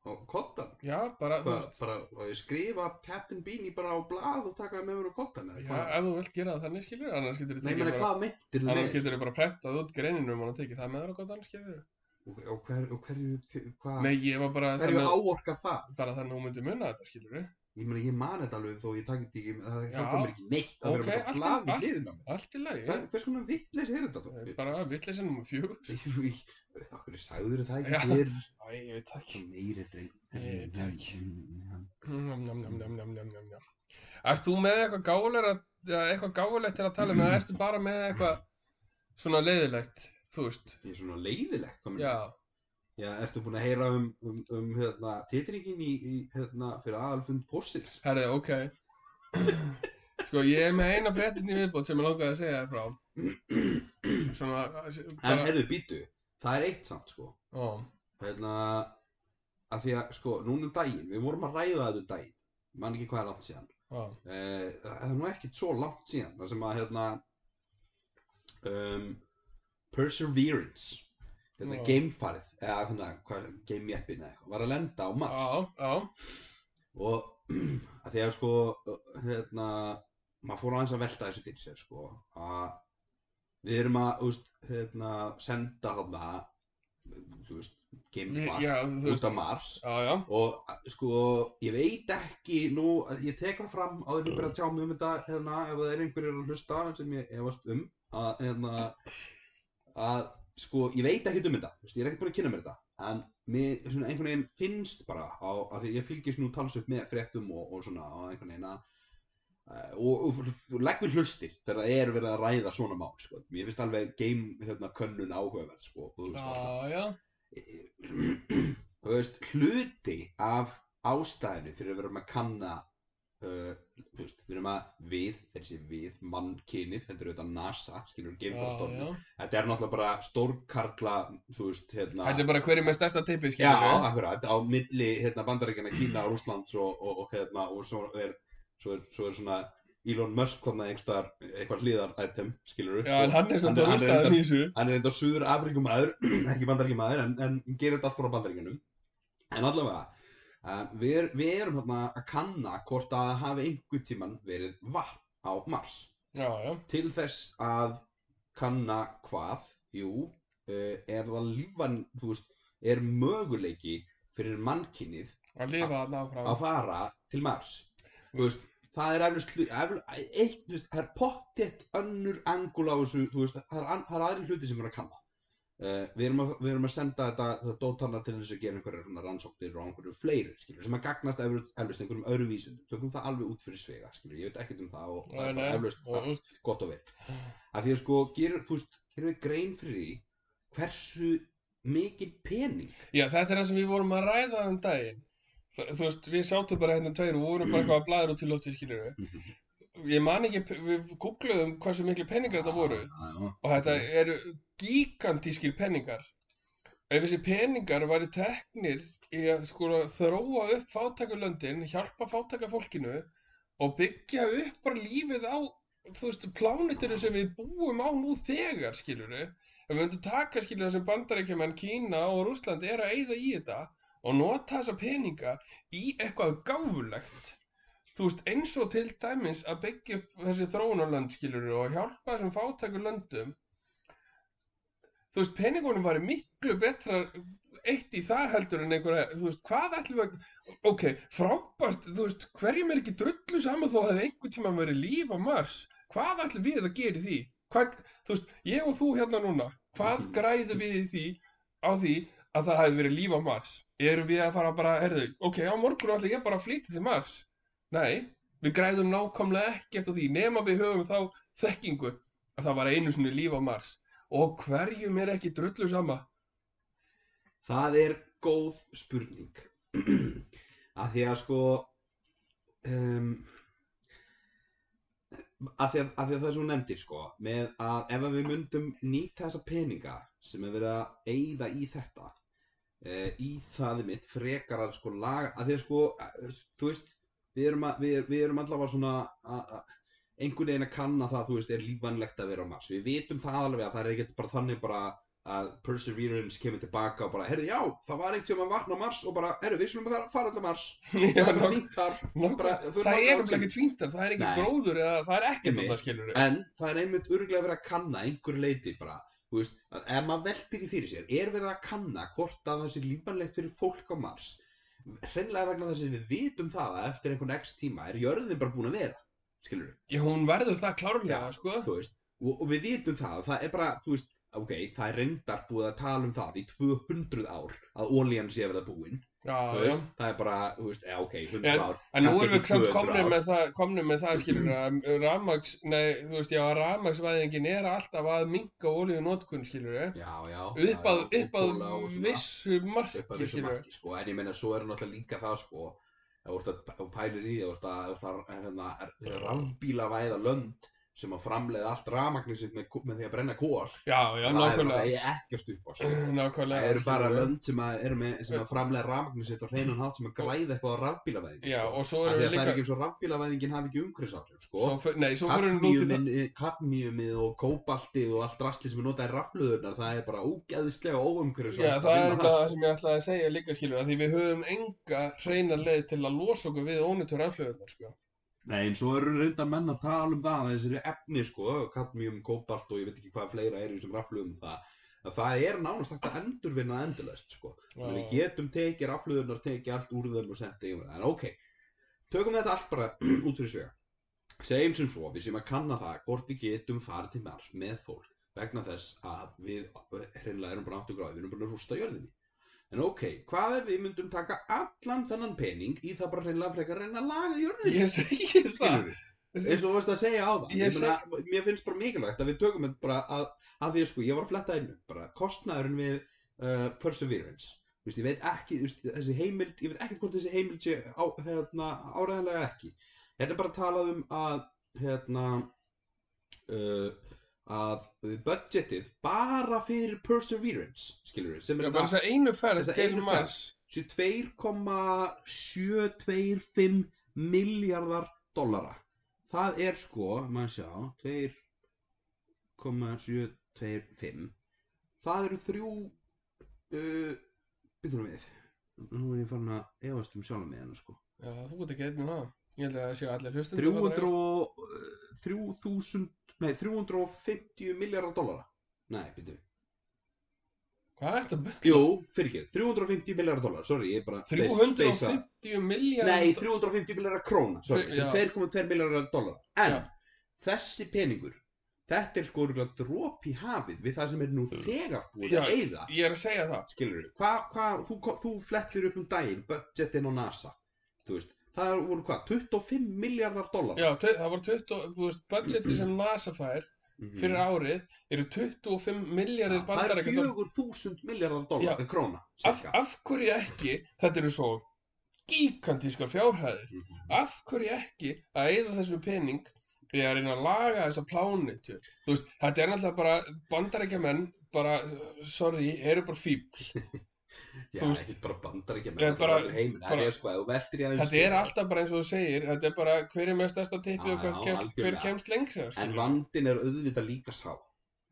Speaker 2: og kottan
Speaker 1: Já, bara, þú
Speaker 2: bara,
Speaker 1: veist,
Speaker 2: bara og ég skrifa Captain Beanie bara á blað og taka það með mér á kottan eða
Speaker 1: já,
Speaker 2: hvað?
Speaker 1: ef þú vilt gera það þannig, skilur, annars getur
Speaker 2: nei, meni,
Speaker 1: bara,
Speaker 2: hvað myndir þú
Speaker 1: annars getur bara prentað út greininum og tekið það maður og kottan, skilur.
Speaker 2: og, og, hver, og hverju, þi- hvað
Speaker 1: Nei, ég var bara,
Speaker 2: hverju áorkar það
Speaker 1: bara þannig að hún myndi munna þetta, skilur við.
Speaker 2: ég meni, ég man þetta alveg þó ég takit ekki það
Speaker 1: Já.
Speaker 2: það komir ekki neitt að
Speaker 1: Ok,
Speaker 2: vera með
Speaker 1: allt
Speaker 2: það
Speaker 1: í-
Speaker 2: blað
Speaker 1: allt-
Speaker 2: við hliðina á mér
Speaker 1: Allt í lagi,
Speaker 2: Hver- hvers konar vittleis er þetta
Speaker 1: það
Speaker 2: þá
Speaker 1: er bara vitleysið nummer fjögur.
Speaker 2: okkur sagður það
Speaker 1: Já.
Speaker 2: ekki fyrr
Speaker 1: Æ, ég veit það ekki.
Speaker 2: meiri dreng
Speaker 1: Ég veit það ekki.
Speaker 2: Já.
Speaker 1: Njam, njam, njam, njam, njam, njam, njam. Ert þú með eitthvað gáfulegra, eða eitthvað gáfulegt til að tala um, eða ertu bara með eitthvað svona leiðilegt, þú veist?
Speaker 2: ég er svona leiðilegt hvað meinarðu?
Speaker 1: Já,
Speaker 2: Já, ertu búinn að heyra um, um, um hérna, titringin í, í hérna, fyrir aðalfund Pósils?
Speaker 1: herði, ok. Sko, ég er með eina fréttin í viðbót sem ég langaði að segja þér frá. Svona,
Speaker 2: En hérna-
Speaker 1: bara,
Speaker 2: hefðu býtu, það er eitt samt sko.
Speaker 1: ó,
Speaker 2: Hérna, að því að sko, núna um daginn, við vorum að ræða þetta um daginn, mann ekki hvað er langt síðan.
Speaker 1: ó,
Speaker 2: Eh, það er nú ekkert svo langt síðan, það sem að hérna, um, Perseverance, hérna
Speaker 1: Já.
Speaker 2: gamefarið, eða hérna, hvað, gamejeppin eða eitthvað, var að lenda á Mars.
Speaker 1: ó, ó,
Speaker 2: og að því að sko hérna, maður fór aðeins að velta þessu fyrir sér sko að við erum að þú veist, hérna, senda þarna þú veist, geimfar
Speaker 1: já, þú
Speaker 2: út
Speaker 1: veist,
Speaker 2: á Mars
Speaker 1: já, já,
Speaker 2: og að, sko ég veit ekki nú, ég tek það fram áður en ég byrja að tjá mig um þetta hérna, ef það er einhverjir að hlusta sem ég efast um að, hérna, að sko ég veit ekkert um þetta, þú veist, ég er ekkert búin að kynna mér þetta en mér svona einhvern veginn finnst bara á, af því ég fylgist nú talsveit með fréttum og, og svona á einhvern veginn að eh, og, og, og legg við hlustir þegar það er verið að ræða svona mál sko. mér finnst alveg game hérna, könnun áhugaverð sko, og þú veist, alltaf
Speaker 1: já, já,
Speaker 2: þú veist, hluti af ástæðinu fyrir að vera með að kanna uh, þú veist, við erum að við, þessi við, mannkynið þetta er auðvitað NASA, skilur
Speaker 1: já,
Speaker 2: við
Speaker 1: já.
Speaker 2: geimfarastofnun þetta er náttúrulega bara stórkarla þú veist, hérna
Speaker 1: Þetta er bara hverju með stærsta tippi,
Speaker 2: já,
Speaker 1: skiljum við.
Speaker 2: akkurat, á milli hérna, bandarækjana Kína og Rússlands og, og, og hérna, og svo er, svo er, svo er svona Elon Musk þarna einhver, einhver hlýðar item, skilur við
Speaker 1: Já, en hann er samt að
Speaker 2: Hann- hann er
Speaker 1: hlustaða
Speaker 2: reyndar-
Speaker 1: í þessu.
Speaker 2: hann er enda suður Afrikumæður, ekki bandaríkjumæður, en, en gerir þetta allt frá bandaríkjunum. En allavega, uh, við, er, við erum hérna að kanna hvort að hafi einhvern tíman verið vatn á Mars.
Speaker 1: Já, já,
Speaker 2: Til þess að kanna hvað, jú, uh, er það lífan, þú veist, er möguleiki fyrir mannkinnið
Speaker 1: að lifa þarna áfram.
Speaker 2: að fara til Mars þú veist, það er eflust eitt, þú veist, það er pottett önnur angul á þessu, þú veist það er, an- það er aðri hluti sem er að kanna uh, við, erum að, við erum að senda þetta, þetta dótana til þess að gera einhverjar svona rannsóknir og einhverju fleiri, skilur, sem að gagnast eflust, eflust einhverjum öðru vísundum, tökum það alveg út fyrir svega, skilur, ég veit ekkert um það og það
Speaker 1: Nei,
Speaker 2: er
Speaker 1: nei,
Speaker 2: bara eflust
Speaker 1: og þú veist,
Speaker 2: gott og vel af því að sko, gerir, þú veist, gerir við grein fyrir því hversu mikið pening
Speaker 1: já, þetta er það sem við vorum að ræða um daginn. Þa- þú veist, við sátum bara hérna tveir og vorum bara eitthvað að blæður út í lofti skilur ég man ekki, við googluðum hversu miklu peningar þetta voru
Speaker 2: Ah, Já,
Speaker 1: og þetta eru gigantískir peningar ef þessi peningar væri teknir í að sko þróa upp fátækulöndin hjálpa fátækafólkinu og byggja upp bara lífið á þú veist, plánitunum sem við búum á nú þegar, skilur við ef við myndum taka, skilur við, sem bandarækjumenn Kína og Rússland er að eyða í þetta og nota þessa peninga í eitthvað gáfulegt þú veist, eins og til dæmis að byggja upp þessi þróunarlönd, skilur við, og hjálpa þessum fátækulöndum þú veist, peningunum var miklu betra eitt í það heldur en einhverja, þú veist, hvað ætlum við að ok, frábært, þú veist, hverjum er ekki drullu saman þó að það einhvern tíma verið líf á Mars, hvað ætlum við að gera í því, hvað, þú veist ég og þú hérna núna, hvað græðum við í því, á því að það hafi verið líf á Mars, erum við að fara bara, herðu, ok, á morgun ætlum ég bara að flytja til Mars, nei við græðum nákvæmlega ekkert á því nema við höfum þá þekkingu að það var einu sinni líf á Mars og hverjum er ekki drullu sama
Speaker 2: Það er góð spurning að því að sko um, að, því að, að því að það sem hún nefndir sko með að ef að við myndum nýta þessa peninga sem er verið að eyða í þetta uh, í það mitt frekar að sko laga að því að sko eh, þú veist við erum, að, við, við erum allavega svona að, að einhvern veginn að kanna það þú veist er lífanlegt að vera á mars við vitum það alveg að það er ekkert bara þannig bara að Perseverance kemur tilbaka og bara, herðu, já, það var einhvern veginn vatn á Mars og bara, herðu, við slumum það fara allar Mars
Speaker 1: Já,
Speaker 2: það er bara
Speaker 1: nokk-
Speaker 2: fínt þar
Speaker 1: nokkuð-
Speaker 2: bara-
Speaker 1: það
Speaker 2: förum bara
Speaker 1: er
Speaker 2: á
Speaker 1: um ekki tvíntar, það er ekki
Speaker 2: Nei.
Speaker 1: gróður eða það er ekkert
Speaker 2: Einmitt.
Speaker 1: að það skilur
Speaker 2: en það er einmitt örgulega verið að kanna einhverju leiti bara þú veist, að ef maður veltir í fyrir sér er verið að kanna hvort að það sé lífanlegt fyrir fólk á Mars hreinlega vegna þess að við vitum það að eftir einhvern x tíma er jörðin bara búin að vera skilur
Speaker 1: Já, hún verður það klárlega,
Speaker 2: Já.
Speaker 1: sko
Speaker 2: þú veist og, og við vitum það, það er bara, þú veist ok, það er reyndar búið að tala um það í 200 ár að olían sé að verða búin þú
Speaker 1: Já, já
Speaker 2: veist, það er bara, þú veist, eh, ok, 100
Speaker 1: En-
Speaker 2: ár
Speaker 1: En nú
Speaker 2: kannski
Speaker 1: erum við
Speaker 2: ekki
Speaker 1: kom,
Speaker 2: 200
Speaker 1: komnir,
Speaker 2: ár.
Speaker 1: með það, komnir með það skilur að rafmags, nei, þú veist, já, rafmagsvæðingin er alltaf að minka olíunótkun skilur við
Speaker 2: já, já,
Speaker 1: upp að,
Speaker 2: já, já,
Speaker 1: upp að
Speaker 2: kúla og svona.
Speaker 1: vissu
Speaker 2: upp að
Speaker 1: marki
Speaker 2: vissu
Speaker 1: skilur við
Speaker 2: marki sko, en ég meina svo er náttúrulega líka það sko ef þú ert að- ef þú pælir í því ef þú ert að- ef það er rafbíla væða lönd sem að framleiða allt rafmagnir sitt með, með því að brenna kól
Speaker 1: Já, já,
Speaker 2: það er
Speaker 1: nákvæmlega
Speaker 2: náttúrulega ekkert upp á sko.
Speaker 1: Nákvæmlega
Speaker 2: það eru bara
Speaker 1: skilurðu.
Speaker 2: lönd sem að, eru með, sem að framleiða rafmagnir sitt og hreinan hátt sem að græða eitthvað á rafbíla væðing
Speaker 1: Já,
Speaker 2: sko.
Speaker 1: og svo
Speaker 2: Af
Speaker 1: erum við
Speaker 2: því að það er
Speaker 1: líka
Speaker 2: ekki eins og rafbíla væðingin hafi ekki umhverfisáhrif sko.
Speaker 1: svo, fer- Nei, svo fyrir við nú til
Speaker 2: Kadmíumin- kadmíumið og kóbaltið og allt rastli sem er notað í rafluðurnar það er bara ógeðislega óumhverfisáhrif
Speaker 1: Já, það er bara það sem ég ætlaði að segja líka skilur að því við höfum enga hreina leið til að losa okkur við ónutur aflöðunar sko.
Speaker 2: Nei, en svo eru reynda menn að tala um það að þessari efni, sko, kadmium, kobalt og ég veit ekki hvað fleira er í þessum rafluðum það, að það er nánast hægt að endurvinna endurlest, sko.
Speaker 1: Já.
Speaker 2: Við getum tekið rafluðunar, tekið allt úr þeim og sent yfir það, en ok. Tökum þetta allt bara út fyrir svega. Segjum sem svo, við sem að kanna það hvort við getum farið til mars með fólk vegna þess að við hreinlega erum bara 80 gráði, við erum bara að rústa jörðinni. En ok, hvað ef við myndum taka allan þennan pening í það bara hreinlega frekar að reyna að laga jörðinni?
Speaker 1: Ég segi það
Speaker 2: Skilurðu? eins og þú varst að segja á það
Speaker 1: Ég
Speaker 2: ég meina, mér finnst bara mikilvægt að við tökum þetta bara að, að því að sko, ég var að fletta einu bara kostnaðurinn við uh, Perseverance Þú veist, ég veit ekki, þú veist, þessi heimild ég veit ekki hvort þessi heimild sé á, hérna, áræðanlega ekki þetta er bara talað um að hérna uh, að budgetið bara fyrir Perseverance skilur við, sem
Speaker 1: Já,
Speaker 2: er
Speaker 1: bara þess að einu ferð
Speaker 2: Þessa
Speaker 1: til
Speaker 2: einu ferð.
Speaker 1: Mars
Speaker 2: 2,725 miljardar dollara það er sko, maður sjá 2,725 það eru þrjú uh, byrjum við nú er ég farin að efast um sjálf með hennu sko
Speaker 1: Já, þú veit ekki einnig það Ég held að það séu allir sko. hlustum
Speaker 2: 300 og, uh, 3000 nei, 350 miljardar dollara nei, byrjum
Speaker 1: Hvað ertu að byrja?
Speaker 2: jú, fyrir ekki, 350 miljardar dollara sorry, ég er bara 350
Speaker 1: 350 miljard
Speaker 2: Nei, 350 miljardar króna sorry,
Speaker 1: Já.
Speaker 2: 2,2 miljardar dollar En
Speaker 1: Já.
Speaker 2: þessi peningur Þetta er sko örugglega dropi í hafið Við það sem er nú þegar búið
Speaker 1: Mm. Já.
Speaker 2: að eyða
Speaker 1: Ég er að segja það
Speaker 2: Skilur við, hva, hva, þú, ko- þú flettir upp um daginn Budgetin á NASA Þú veist, það voru hvað, 25 miljardar dollar
Speaker 1: Já, tau- það var 20, þú veist, budgeti sem NASA fær fyrir árið eru 25 miljardir
Speaker 2: Mhm. Mm. Það er
Speaker 1: bandarækja
Speaker 2: 4000 miljardar
Speaker 1: Já.
Speaker 2: dollar, króna
Speaker 1: af,
Speaker 2: cirka.
Speaker 1: af hverju ekki þetta eru svo gigantískar fjárhæðir.
Speaker 2: Mhm.
Speaker 1: Af hverju ekki að eyða þessu pening í að reyna að laga þessa plánetu? Þú veist, þetta er náttúrulega bara bandarækjamenn, bara, uh, sorry, eru bara fíbl.
Speaker 2: Já,
Speaker 1: þú veist-
Speaker 2: ekki bara bandar ekki
Speaker 1: Ég
Speaker 2: með
Speaker 1: bara-
Speaker 2: heiminn, það
Speaker 1: bara-
Speaker 2: er sko, ef þú veltir í aðeins
Speaker 1: Þetta er alltaf bara eins og þú segir, þetta er bara hver er með stærsta tippi og
Speaker 2: Já,
Speaker 1: hvað
Speaker 2: já,
Speaker 1: kemst, hver
Speaker 2: algjörlega.
Speaker 1: kemst lengra.
Speaker 2: En
Speaker 1: skilurðu.
Speaker 2: vandin er auðvitað líka sá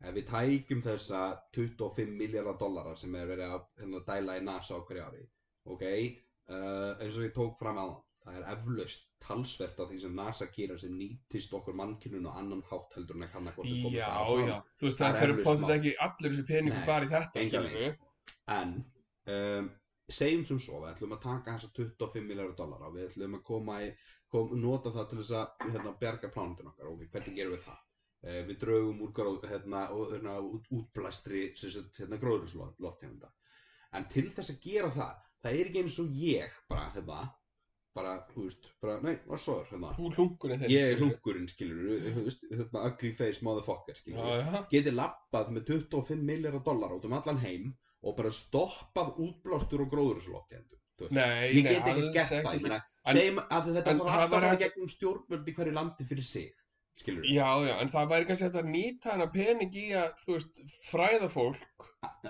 Speaker 2: ef við tækjum þessa 25 miljardar dollara sem er verið að hérna, dæla í NASA á hverju ári ok, uh, eins og ég tók fram aðan það er eflaust talsvert af því sem NASA gerir sem nýtist okkur mannkynun og annan hátt heldur en að kanna hvort komist
Speaker 1: Já,
Speaker 2: að áfram.
Speaker 1: já, þú veist, það
Speaker 2: Það er
Speaker 1: fyrir
Speaker 2: eflaust
Speaker 1: potið
Speaker 2: mál.
Speaker 1: ekki allir þessi peningur
Speaker 2: Nei,
Speaker 1: bara í þetta,
Speaker 2: engan
Speaker 1: skilur
Speaker 2: veginn, sko. en um, segjum sem svo, við ætlum að taka þessa 25 miljardar dollara, við ætlum að koma í kom, nota það til þess að hérna, bjarga plánutin okkar, ok, hvernig gerum við það uh, við draugum úr gróð, hérna, og- hérna, út, útblæstri sem sagt, hérna, gróðurslofthefnda en til þess að gera það, það er ekki eins og ég bara, hérna bara, þú veist, bara, nei, var svo hérna,
Speaker 1: Þú hlungunni þeirri.
Speaker 2: ég er hungurinn, skilur hérna, ugly face motherfucker, skilur
Speaker 1: Já, já.
Speaker 2: getið labbað með 25 miljardar dólar út um allan heim og bara stoppað útblástur og gróðursloftendu.
Speaker 1: Nei,
Speaker 2: Ég
Speaker 1: nei,
Speaker 2: get ekki
Speaker 1: alls
Speaker 2: gert það, ég
Speaker 1: ekki.
Speaker 2: meina,
Speaker 1: En-
Speaker 2: segjum að þetta
Speaker 1: en það
Speaker 2: þarf alltaf að
Speaker 1: var
Speaker 2: fara
Speaker 1: ekki-
Speaker 2: gegnum stjórnvöld í hverju landi fyrir sig, skilur við,
Speaker 1: Já, já, en það væri kannski hægt að nýta hana pening í að, þú veist, fræða fólk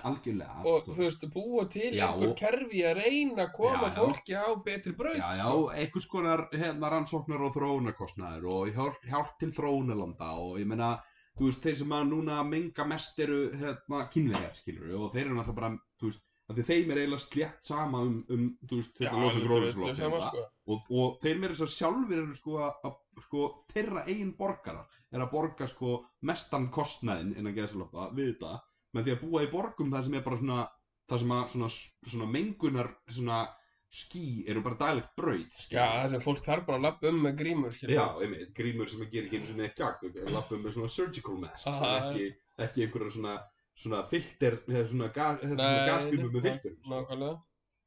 Speaker 2: algjörlega.
Speaker 1: og, þú veist, búa til
Speaker 2: Já,
Speaker 1: einhver
Speaker 2: og-
Speaker 1: kerfi að reyna að koma
Speaker 2: Já, já.
Speaker 1: fólki á betri braut,
Speaker 2: Já, já,
Speaker 1: sko.
Speaker 2: einhvers konar hérna rannsóknar og þróunarkostnaður og hjálp, hjálp til þróunarlanda og ég meina, þú veist, þeir sem að núna menga mest eru hérna kynverjar, skilur við, og þeir eru náttúrulega bara, þú veist, af því þeim er eiginlega slétt sama um, um þú veist,
Speaker 1: Já,
Speaker 2: hérna
Speaker 1: þetta
Speaker 2: losa
Speaker 1: er öllu
Speaker 2: gróðurslóð
Speaker 1: sama, sko.
Speaker 2: og, og þeir meira þess að sjálfur eru sko að, að sko, þeirra eigin borgarar er að borga sko mestan kostnæðin innan geðsaloppa við þetta með því að búa í borgum það sem er bara svona það sem að svona, svona mengunar svona ský eru bara daglegt brauð
Speaker 1: Já, það sem fólk þarf bara að lappa um með grímur, skilur.
Speaker 2: Já, einmitt, grímur sem að gera ekki einu sinni ekki gagn, er lappum með svona surgical mask sem
Speaker 1: Aha.
Speaker 2: ekki, ekki einhverja svona svona filter, eða svona, ga, hérna, svona
Speaker 1: Nei,
Speaker 2: gaskjumum með
Speaker 1: nei,
Speaker 2: filterum sko.
Speaker 1: Nákvæmlega.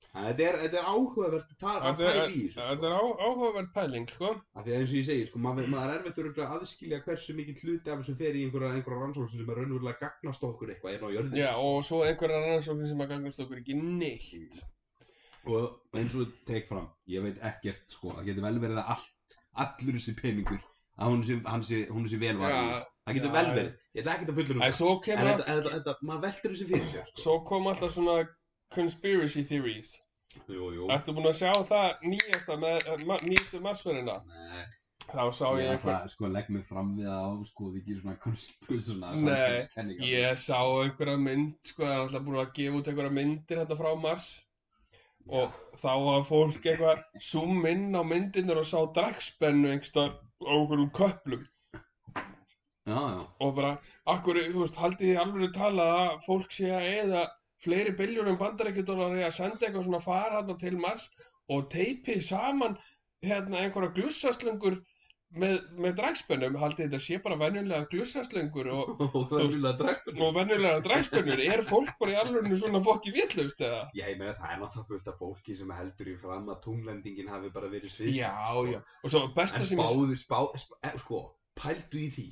Speaker 2: Þannig að þetta er, þetta er áhugavert að tala að
Speaker 1: Þetta er-
Speaker 2: pæla í þessu sko.
Speaker 1: Þetta er á- áhugaverð pæling, sko.
Speaker 2: af því að eins og ég segi, sko, maður, maður er erfitt örugglega að aðskilja hversu mikið hluti af þessum fer í einhverja, einhverja rannsókn sem er raunverulega gagnast okkur eitthvað einn á jörðinu
Speaker 1: Já,
Speaker 2: sko.
Speaker 1: og svo einhverjar rannsóknir sem að gangast okkur ekki neitt.
Speaker 2: og Sko, eins og tek fram, ég veit ekkert sko, það getur vel verið að allt allur þessi peningur að hún sé, hann sé, hún sé vel var
Speaker 1: Já,
Speaker 2: það getur
Speaker 1: já,
Speaker 2: vel verið, ég ætla ekkert að fullur
Speaker 1: en
Speaker 2: um það
Speaker 1: svo
Speaker 2: en
Speaker 1: kemur
Speaker 2: þetta,
Speaker 1: alltaf,
Speaker 2: þetta, þetta, maður veldur þessu fyrir sér sko.
Speaker 1: svo kom alltaf svona conspiracy theories.
Speaker 2: jú, jú,
Speaker 1: Ertu búinn að sjá það nýjasta með, eh, ma- nýjastu massverðina?
Speaker 2: Nei,
Speaker 1: Þá sá
Speaker 2: ég
Speaker 1: ég
Speaker 2: ætla
Speaker 1: einhver,
Speaker 2: að sko, legg mig fram við það á sko, við ekki svona konspjúl svona
Speaker 1: Nei,
Speaker 2: samfélagskenningar.
Speaker 1: ég sá einhverja mynd, sko, það er alltaf búin að gefa út einhverja myndir hérna frá Mars og þá var fólk eitthvað zoom inn á myndirnar og sá dragspennu einhverstaðar á einhverjum köplum
Speaker 2: já, já,
Speaker 1: og bara, akkur, þú veist, haldið þið alveg talað að fólk sé að eða fleiri biljónum bandarækjadólari að senda eitthvað svona far hérna til Mars og teipi saman hérna einhverja glussaslöngur með, með dragspennum, haldið þetta sé bara venjulega glussaslöngur og,
Speaker 2: og það er mjög að
Speaker 1: og venjulega dragspennur, er fólk bara í alveg svona fokki vitlaust eða?
Speaker 2: Já, ég meina það er náttúrulega fullt af fólki sem heldur í fram að tunglendingin hafi bara verið sviðsett.
Speaker 1: Já, já, og svo besta
Speaker 2: En
Speaker 1: sem ég,
Speaker 2: spáðu, spáðu, spáðu, sko, pældu í því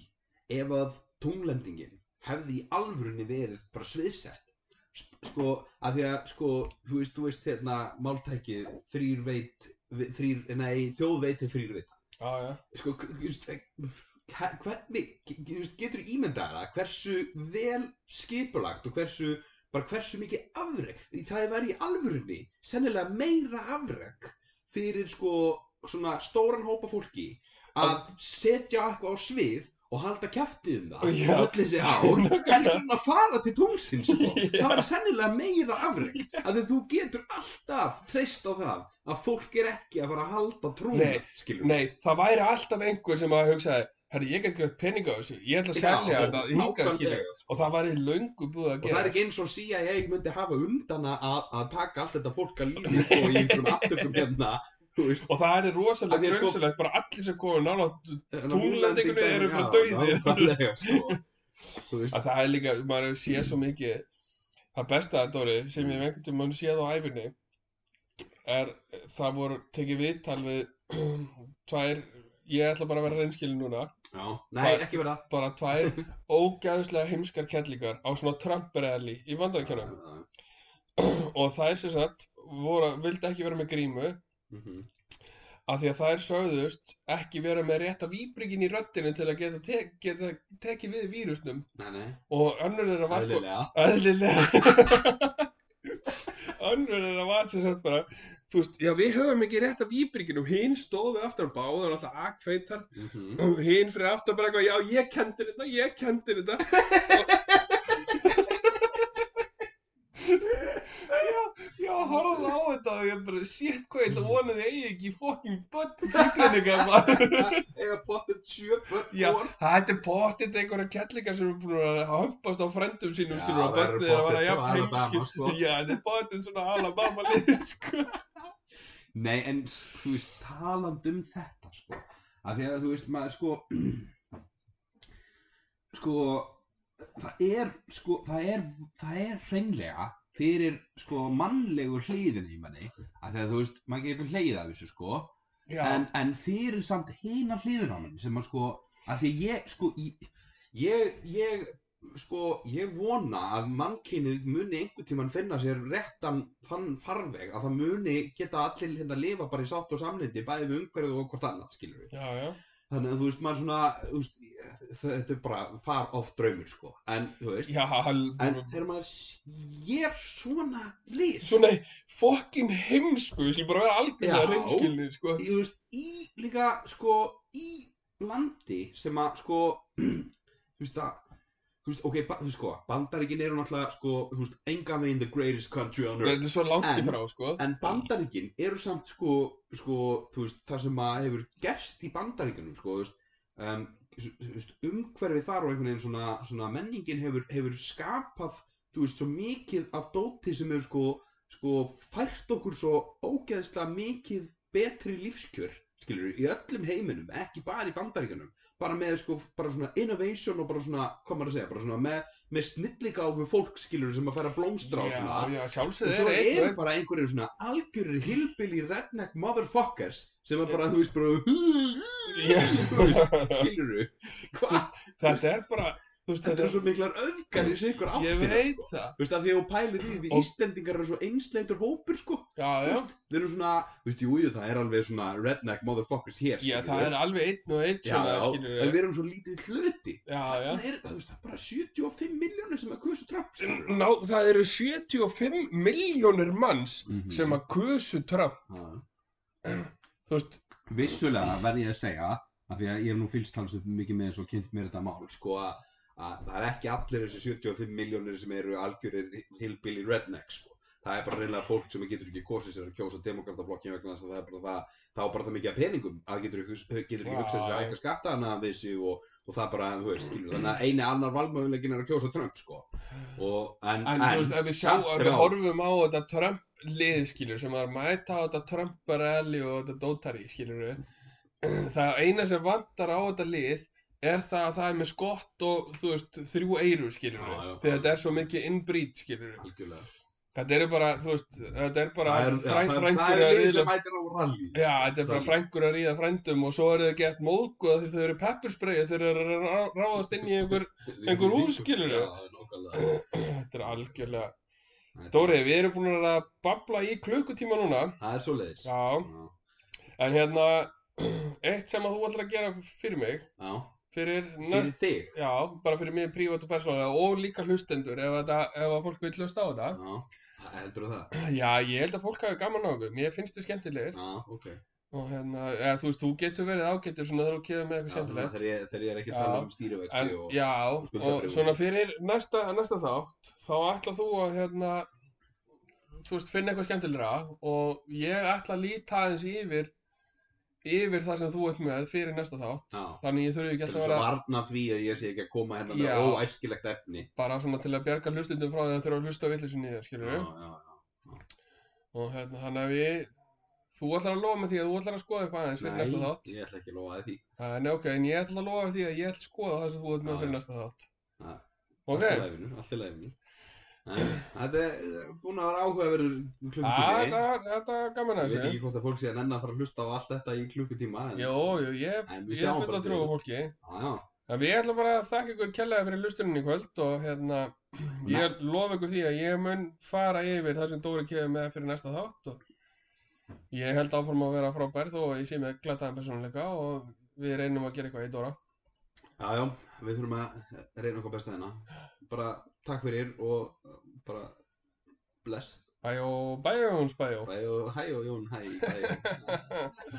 Speaker 2: ef að tunglendingin hefði í alvörunni verið bara sviðsett. Sp- Sko, að því að, sko, þú veist, þú veist, hérna, máltækið, þrýr veit, vi- þrýr, nei, þjóð veit til þrýr veit.
Speaker 1: já, já,
Speaker 2: Sko, k- þú veist, h- hvernig, ge- þú veist, getur ímyndað það hversu vel skipulagt og hversu, bara hversu mikið afreg, Í- það væri í alvörunni sennilega meira afreg fyrir sko svona stóran hópa fólki að setja eitthvað á svið og halda kjaftið um það
Speaker 1: Já.
Speaker 2: öll þessi á
Speaker 1: Nákvæmlega.
Speaker 2: heldur en að fara til tungsin sko.
Speaker 1: Já.
Speaker 2: það væri sennilega meira afreg að því þú getur alltaf treyst á það að fólk er ekki að fara að halda trúna
Speaker 1: Nei,
Speaker 2: skilur
Speaker 1: nei, það væri alltaf einhver sem að hugsaði, herri, ég get greitt peninga þessu, ég ætla að selja þetta hingað skilja og það væri löngu búið að
Speaker 2: Og það
Speaker 1: gera
Speaker 2: er ekki eins og síja ég myndi hafa undan að, að taka allt þetta fólk að lífi sko, í einhverjum aftökum hérna þú veist,
Speaker 1: og það er rosalega
Speaker 2: Af því að sko-
Speaker 1: grunsalegt bara allir sem komið nálátt
Speaker 2: hérna,
Speaker 1: Tunglendingunni
Speaker 2: Grænlendingar,
Speaker 1: eru bara
Speaker 2: já,
Speaker 1: dauðir.
Speaker 2: nákvæmlega, sko. Þú veist,
Speaker 1: að það er líka, maður hefur séð svo mikið það besta, Dóri, sem ég hef einhvern tímann séð á æfinni er, það voru tekið viðtal við tvær ég ætla bara að vera reynskilin núna
Speaker 2: já, nei, ekki vera
Speaker 1: bara tvær ógæðslega heimskar kellingar á svona Trump-rally í vandarækjunum
Speaker 2: Já,
Speaker 1: og þær sem sagt voru, vildi ekki vera með grímu
Speaker 2: Mhm.
Speaker 1: af því að þær sögðust ekki vera með rétta víbringin í röddinu til að geta, te geta tekið við vírusnum
Speaker 2: Nei, nei,
Speaker 1: og önnur þeirra var sko
Speaker 2: aðlilega
Speaker 1: Öðlilega Önnur þeirra var sem sagt bara Þú veist, já við höfum ekki rétt af íbyrginum Hinn stóðu aftur báður alltaf akfeitar
Speaker 2: Mhm.
Speaker 1: Og hinn fyrir aftur bara eitthvað Já ég kendi þetta, ég kendi þetta Já, já, horfðu á þetta og ég bara, shit, hvað ég ætla að vona þið eigi ekki fucking börn fíklinninga maður.
Speaker 2: Eða pottet sjö börn
Speaker 1: Já,
Speaker 2: hvor.
Speaker 1: þetta er pottitt einhverja kettlingar sem eru búin að hampast á frendum sínum,
Speaker 2: Já,
Speaker 1: skilur, að
Speaker 2: það eru
Speaker 1: börnið er að vera
Speaker 2: pottet
Speaker 1: jafn
Speaker 2: frá Alabama,
Speaker 1: heimskið.
Speaker 2: sko.
Speaker 1: Já, þetta er pottitt svona Alabama lið, sko.
Speaker 2: Nei, en þú veist, taland um þetta sko af því að þú veist, maður sko sko það er sko, það er, það er hreinlega fyrir sko mannlegu hliðin í manni af því að þú veist, maður getur hleið af þessu sko
Speaker 1: Já,
Speaker 2: en, en fyrir samt hina hliðin á manni sem að sko, af því ég sko, ég, ég, ég sko, ég vona að mannkynið muni einhvern tímann finna sér réttan fann farveg að það muni geta allir hérna lifa bara í sátt og samlindi bæði við umhverfið og hvort annað, skilur við
Speaker 1: já, já.
Speaker 2: þannig að þú veist, maður svona, þú veist þetta er bara far off draumur, sko en, þú veist,
Speaker 1: Já, hann-
Speaker 2: en þegar maður sér svona lið,
Speaker 1: svona fokkin heimsku, við skilum bara vera algjörlega
Speaker 2: Já.
Speaker 1: reynskilni, sko.
Speaker 2: ég veist, í líka sko í landi sem að sko þú veist að þú veist, ok, ba- þú veist sko, bandaríkin eru náttúrulega sko, þú veist, enga megin the greatest country on earth
Speaker 1: Þetta er svo langt í
Speaker 2: En-
Speaker 1: frá, sko.
Speaker 2: en bandaríkin eru samt sko, sko, þú veist, það sem að hefur gerst í bandaríkinum sko, þú veist, um, þú veist, umhverfið þar og einhvern veginn svona, svona menningin hefur, hefur skapað þú veist, svo mikið af dóti sem hefur sko, sko, fært okkur svo ógeðslega mikið betri lífskjör, skilur í öllum heiminum, ekki bara í bandaríkinum bara með sko, bara svona innovation og bara svona, hvað maður að segja, bara svona með, með snilligáfu fólk, skilur sem að færa blómstra og
Speaker 1: Já,
Speaker 2: svona
Speaker 1: já,
Speaker 2: og
Speaker 1: sjálfsögð
Speaker 2: svo
Speaker 1: er eitt og
Speaker 2: eru
Speaker 1: eitt.
Speaker 2: bara einhverjir svona algjörir hillbilly redneck motherfuckers sem er bara, þú veist, bara skilur þú hvað,
Speaker 1: Þetta er bara, þú veist,
Speaker 2: þetta
Speaker 1: þetta
Speaker 2: eru svo miklar öfgar í sikur
Speaker 1: er, ég
Speaker 2: áttir
Speaker 1: veit það.
Speaker 2: þú veist, af því að þú pælir í því við
Speaker 1: Og-
Speaker 2: Íslendingar eru svo einsleitur hópur, sko
Speaker 1: Já,
Speaker 2: Þú
Speaker 1: já.
Speaker 2: veist, við erum svona, þú veist, jú, jú, það er alveg svona redneck motherfuckers hér,
Speaker 1: Já,
Speaker 2: skilurðu.
Speaker 1: það er alveg einn og einn
Speaker 2: já,
Speaker 1: svona,
Speaker 2: já,
Speaker 1: skilur
Speaker 2: en við erum svo lítið hluti
Speaker 1: Já, já.
Speaker 2: það er, þú veist, það er bara 75 miljónir sem að kusu Trump, skilur
Speaker 1: Ná, það eru 75 miljónir manns
Speaker 2: Mhm.
Speaker 1: sem að kusu Trump þú veist,
Speaker 2: vissulega
Speaker 1: Mm.
Speaker 2: verð ég að segja af því að ég hef nú fylgst hans mikið með þess og kynnt mér þetta mál sko að, að það er ekki allir þessi 75 miljónir sem eru algjörir hillbilly rednecks sko. það er bara reynilega fólk sem getur ekki kosið sér að kjósa demokrataflokkin vegna þess að það er bara það þá bara það mikið að peningum að getur ekki, getur ekki
Speaker 1: Já,
Speaker 2: hugsað sér að
Speaker 1: já.
Speaker 2: eitthvað skatta hana við sig og, og það bara, þú veist, skilur þannig að eini annar valmöðulegin er að kjósa Trump sko. og, en,
Speaker 1: en þú veist, ef við sjá,
Speaker 2: samt
Speaker 1: ef
Speaker 2: sem
Speaker 1: við
Speaker 2: áður.
Speaker 1: horfum á þetta Trump lið, skilur, sem er að mæta á þetta Trump rally og þetta dótari, skilur það eina sem vantar á þetta lið er það að það er með skott og, þú veist, þrjú eyru, skilur
Speaker 2: Já, já.
Speaker 1: því þetta er svo mikið innbrýt, skilur
Speaker 2: algjörlega
Speaker 1: þetta eru bara, þú veist, þetta er bara
Speaker 2: það er, já,
Speaker 1: fræn-
Speaker 2: það er,
Speaker 1: frængur
Speaker 2: það
Speaker 1: að
Speaker 2: er lið
Speaker 1: ríða
Speaker 2: sem mætir á rally
Speaker 1: Já, þetta er bara
Speaker 2: Rally.
Speaker 1: frængur að ríða frændum og svo eru þau gett móðgóða því þau eru pepperspreyja þegar þau eru að rá- ráðast inn í einhver Einhver hús, skilurðu?
Speaker 2: Já, það er nákvæmlega.
Speaker 1: Þetta er algjörlega Dóri, við erum búin að babla í klukkutíma núna
Speaker 2: Það er svo leiðis
Speaker 1: Já, en hérna Eitt sem að þú ætlar að gera fyrir mig
Speaker 2: Já.
Speaker 1: Fyrir
Speaker 2: Fyrir
Speaker 1: næst,
Speaker 2: þig
Speaker 1: já, bara fyrir mig prívat og persónulega Og líka hlustendur ef, þetta, ef að fólk vil hlusta á þetta
Speaker 2: Já, heldur það
Speaker 1: Já, ég held að fólk hafi gaman á okkur Mér finnst þau skemmtilegir
Speaker 2: Já, ok Já,
Speaker 1: Og hérna, eða, þú veist, þú getur verið ágættur svona þegar þú kefur með eitthvað
Speaker 2: þannig að
Speaker 1: skemmtilegt
Speaker 2: Þegar ég þegar ég er ekki að
Speaker 1: Já.
Speaker 2: tala um
Speaker 1: En,
Speaker 2: stýrivexti og
Speaker 1: já,
Speaker 2: og
Speaker 1: og
Speaker 2: skuldabréfum.
Speaker 1: svona fyrir næsta, næsta þátt þá ætla þú að hérna þú veist, finna eitthvað skemmtilegra og ég ætla að líta aðeins yfir yfir það sem þú ert með fyrir næsta þátt
Speaker 2: Já
Speaker 1: þannig ég þurfi ekki
Speaker 2: Til
Speaker 1: alltaf
Speaker 2: þess
Speaker 1: að
Speaker 2: að
Speaker 1: vera
Speaker 2: varna því að ég sé ekki að koma hérna
Speaker 1: Já.
Speaker 2: með óæskilegt efni
Speaker 1: bara svona til að bjarga hlustundum frá því að þurfa að hlusta vittlisinn í þér,
Speaker 2: Já,
Speaker 1: skilur við
Speaker 2: já,
Speaker 1: og hérna, þannig að við þú ætlar að lofa með því að þú ætlar að skoða eitthvað aðeins
Speaker 2: já
Speaker 1: fyrir næsta þátt
Speaker 2: ég ætla ekki að lofa því
Speaker 1: en ok, en ég ætla að lofa því að ég ætla að skoða það sem þú ert
Speaker 2: Já,
Speaker 1: með fyrir
Speaker 2: já.
Speaker 1: næsta þátt
Speaker 2: Já.
Speaker 1: ok,
Speaker 2: Allt í læfinu, allt í læfinu Þetta er búin að vera áhugaverður
Speaker 1: Ah,
Speaker 2: klukkutími
Speaker 1: þetta þetta er gaman
Speaker 2: Ég
Speaker 1: aðeins
Speaker 2: veit ekki hvort að fólk sé að nenn að fara að hlusta á allt þetta í klukkutíma en-
Speaker 1: Jó, jú, ég,
Speaker 2: En við
Speaker 1: ég er
Speaker 2: sjáum
Speaker 1: full
Speaker 2: bara
Speaker 1: að trú á
Speaker 2: til.
Speaker 1: fólki.
Speaker 2: Já, já
Speaker 1: En við ætlum bara að þakka ykkur kærlega fyrir lustuninni í kvöld og hérna, ég lofa ykkur því að ég mun fara yfir það sem Dóri kefið með fyrir næsta þátt og Ég held áfram að vera frábær þó að ég sé með glataðan persónuleika og við reynum að gera eitthvað í Dóra.
Speaker 2: Já, já, við þurfum að reyna okkar besta hérna. Bara takk fyrir og uh, bara bless.
Speaker 1: Bæjó, bæjó, Jóns, bæjó.
Speaker 2: Bæ og hæ og Jón, hæ, hæ.